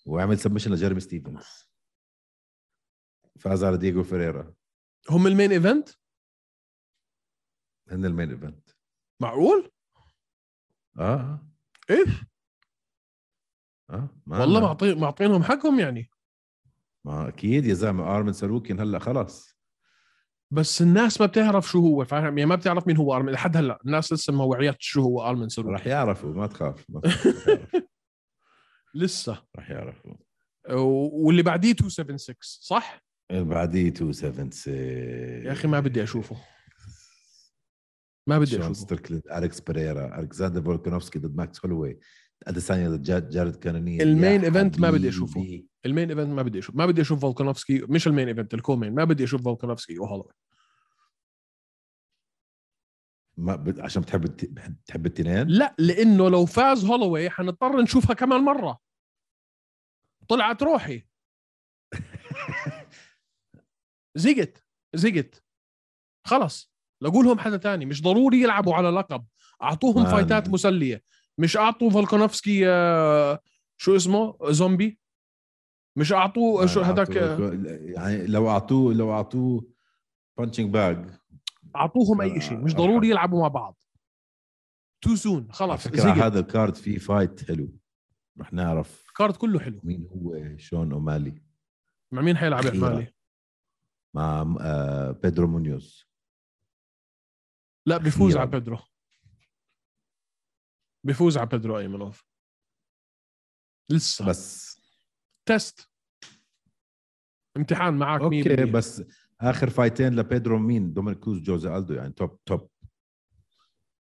S3: وعمل سبمشن لجيرمي ستيفنز فاز على دييغو فيريرا
S2: هم المين ايفنت
S3: هن المين ايفنت
S2: معقول
S3: اه
S2: ايش
S3: اه ما
S2: إيه؟ والله معطي معطينهم حقهم يعني
S3: ما اكيد يا زلمه ارمن ساروكين هلا خلاص
S2: بس الناس ما بتعرف شو هو فاهم يعني ما بتعرف مين هو ارمن لحد هلا الناس لسه ما وعيت شو هو ارمن سرور
S3: راح يعرفوا ما تخاف
S2: [LAUGHS]
S3: ما تخاف، راح يعرفوا،
S2: لسه
S3: راح يعرفوا
S2: و- واللي بعديه 276 صح
S3: بعديه 276
S2: يا اخي ما بدي اشوفه ما بدي
S3: شون
S2: اشوفه
S3: ستريكلاند الكس بريرا الكساندر فولكانوفسكي ضد ماكس هولوي اديسانيا ضد جا- جارد كانوني
S2: المين إيفنت ما بدي أشوفه. المين ايفنت ما بدي اشوف ما بدي اشوف فولكانوفسكي مش المين ايفنت الكومين ما بدي اشوف فولكانوفسكي وهولوي
S3: ما بد... عشان بتحب الت... بتحب التنين
S2: لا لانه لو فاز هولوي حنضطر نشوفها كمان مره طلعت روحي زقت زقت خلص لقولهم حدا تاني مش ضروري يلعبوا على لقب اعطوهم
S3: مان.
S2: فايتات مسليه مش اعطوا فولكانوفسكي آه، شو اسمه زومبي مش اعطوه شو هذاك آه،
S3: يعني لو اعطوه لو اعطوه بانشنج باج
S2: اعطوهم اي شيء مش
S3: آه،
S2: ضروري
S3: آه.
S2: يلعبوا مع بعض تو سون
S3: على
S2: خلص
S3: فكره
S2: زقت
S3: هذا الكارد فيه فايت حلو رح نعرف
S2: الكارد كله حلو
S3: مين هو شون اومالي
S2: مع مين حيلعب يا
S3: أخيراً.
S2: حمالي
S3: مع آه بيدرو مونيوز
S2: لا بيفوز
S3: أخيراً.
S2: على بيدرو بيفوز على بيدرو ايمنوف لسه بس.
S3: بس
S2: تست امتحان معك
S3: اوكي
S2: 100%
S3: بس اخر فايتين لبيدرو مين دومينيك كروز جوزي الدو يعني توب توب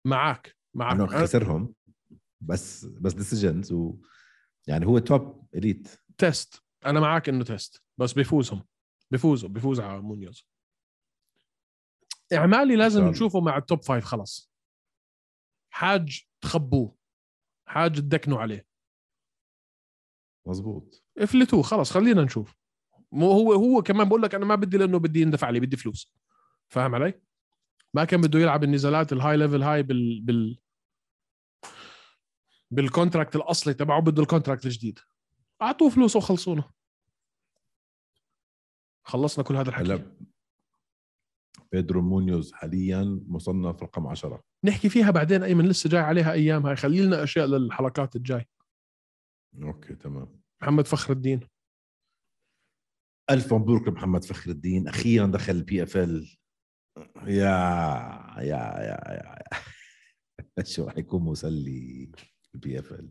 S2: معك معك
S3: انه
S2: أنا-
S3: خسرهم بس بس ديسيجنز و يعني هو توب اليت
S2: تست انا معك انه تست بس بيفوزهم بيفوزوا بيفوز على مونيوز اعمالي لازم
S3: شاء
S2: نشوفه مع التوب فايف خلص حاج تخبوه حاج تدكنوا عليه
S3: مزبوط
S2: افلتوه خلص خلينا نشوف مو هو هو كمان بقول لك انا ما بدي لانه بدي يندفع لي بدي فلوس فاهم علي؟ ما كان بده يلعب النزالات الهاي ليفل هاي بال بال بالكونتراكت الاصلي تبعه بده الكونتراكت الجديد اعطوه فلوسه وخلصونا خلصنا كل هذا الحكي
S3: هلا بيدرو مونيوز حاليا مصنف رقم 10
S2: نحكي فيها بعدين ايمن لسه جاي عليها ايام هاي خلي لنا اشياء للحلقات الجاي
S3: اوكي تمام
S2: محمد فخر الدين
S3: الف مبروك لمحمد فخر الدين اخيرا دخل البي اف ال يا يا يا يا, يا. [LAUGHS] شو راح يكون مسلي البي اف ال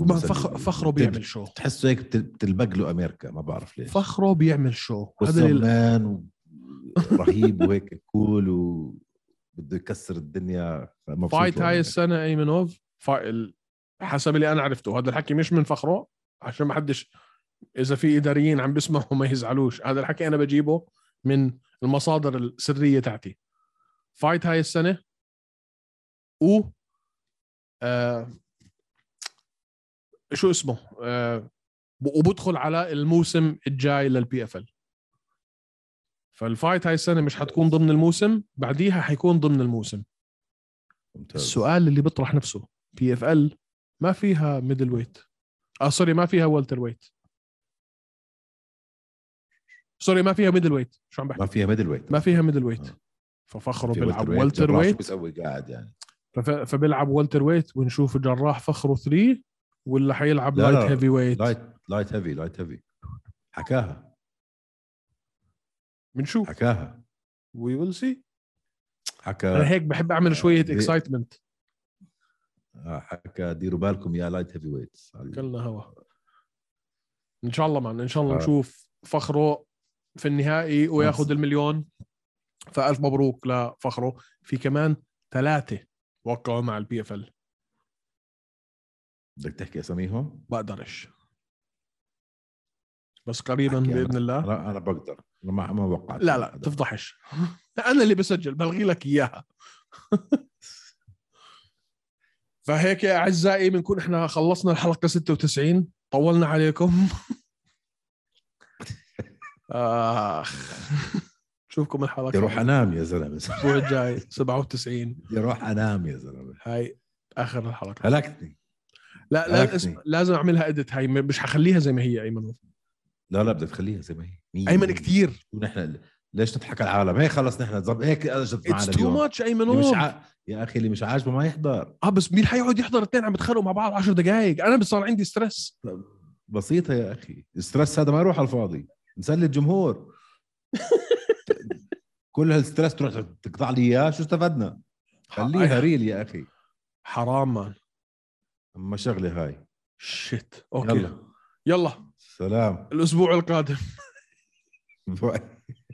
S2: ما فخر فخره بيعمل شو
S3: تحسه هيك بتل- بتلبق له امريكا ما بعرف ليش
S2: فخره بيعمل شو هذا اللي-
S3: وسمان و...
S2: [LAUGHS]
S3: رهيب وهيك كول وبده يكسر الدنيا مبسوط
S2: فايت
S3: والله.
S2: هاي السنه ايمنوف فا- ال- حسب اللي انا عرفته هذا الحكي مش من فخره عشان ما حدش اذا في اداريين عم بيسمعوا ما يزعلوش هذا الحكي انا بجيبه من المصادر السريه تاعتي فايت هاي السنه و آه شو اسمه آه وبدخل على الموسم الجاي للبي اف ال فالفايت هاي السنه مش حتكون ضمن الموسم بعديها حيكون ضمن الموسم
S3: ممتاز
S2: السؤال اللي بيطرح نفسه بي اف ال ما فيها ميدل ويت اه سوري ما فيها والتر ويت سوري ما فيها ميدل ويت شو عم بحكي
S3: ما فيها ميدل ويت
S2: ما فيها ميدل ويت
S3: آه.
S2: ففخره
S3: في
S2: بيلعب
S3: welterweight.
S2: والتر
S3: جراح شو
S2: ويت
S3: بيسوي قاعد يعني
S2: فف- فبيلعب والتر ويت ونشوف جراح فخره 3 ولا حيلعب
S3: لا،
S2: لايت
S3: لا،
S2: هيفي ويت
S3: لايت لايت هيفي لايت هيفي حكاها
S2: بنشوف
S3: حكاها
S2: وي ويل سي
S3: آه.
S2: انا
S3: حكى
S2: هيك بحب
S3: آه،
S2: اعمل شويه
S3: دي-
S2: اكسايتمنت
S3: آه، حكى ديروا بالكم يا لايت هيفي ويت
S2: كلنا هوا ان شاء الله معنا ان شاء الله
S3: آه.
S2: نشوف فخره في النهائي وياخذ المليون فالف مبروك لفخره في كمان ثلاثه وقعوا مع البي اف ال
S3: بدك تحكي اساميهم؟
S2: بقدرش بس قريبا
S3: أحكي أنا.
S2: باذن الله
S3: انا انا بقدر أنا ما ما وقعت
S2: لا لا تفضحش انا اللي بسجل بلغي لك اياها [LAUGHS] فهيك يا اعزائي بنكون احنا خلصنا الحلقه 96 طولنا عليكم [LAUGHS] اخ نشوفكم الحلقه
S3: بدي اروح انام يا زلمه
S2: الاسبوع الجاي 97
S3: [LAUGHS] بدي اروح انام يا زلمه
S2: هاي اخر الحلقه
S3: هلكتني
S2: لا لا
S3: هلكني.
S2: اسم- لازم اعملها اديت هاي م- مش حخليها زي ما هي ايمن
S3: لا لا بدك تخليها زي ما هي مية
S2: ايمن
S3: مية.
S2: كثير
S3: ونحن ليش نضحك على العالم هيك خلص نحن زب هيك اجت معنا
S2: اتس تو
S3: اليوم
S2: ماتش ايمن
S3: اللي مش ع... يا اخي اللي مش عاجبه ما يحضر
S2: اه بس مين حيقعد يحضر اثنين عم يتخانقوا مع بعض 10 دقائق انا بصير عندي ستريس
S3: بسيطه يا اخي الستريس هذا ما يروح على الفاضي نسلي الجمهور كل هالستريس تروح تقطع لي اياه شو استفدنا
S2: آه،
S3: خليها ريل يا اخي
S2: حرام مان
S3: اما شغله هاي
S2: شيت اوكي يلا,
S3: يلا
S2: يلا.
S3: سلام
S2: الاسبوع القادم
S3: باي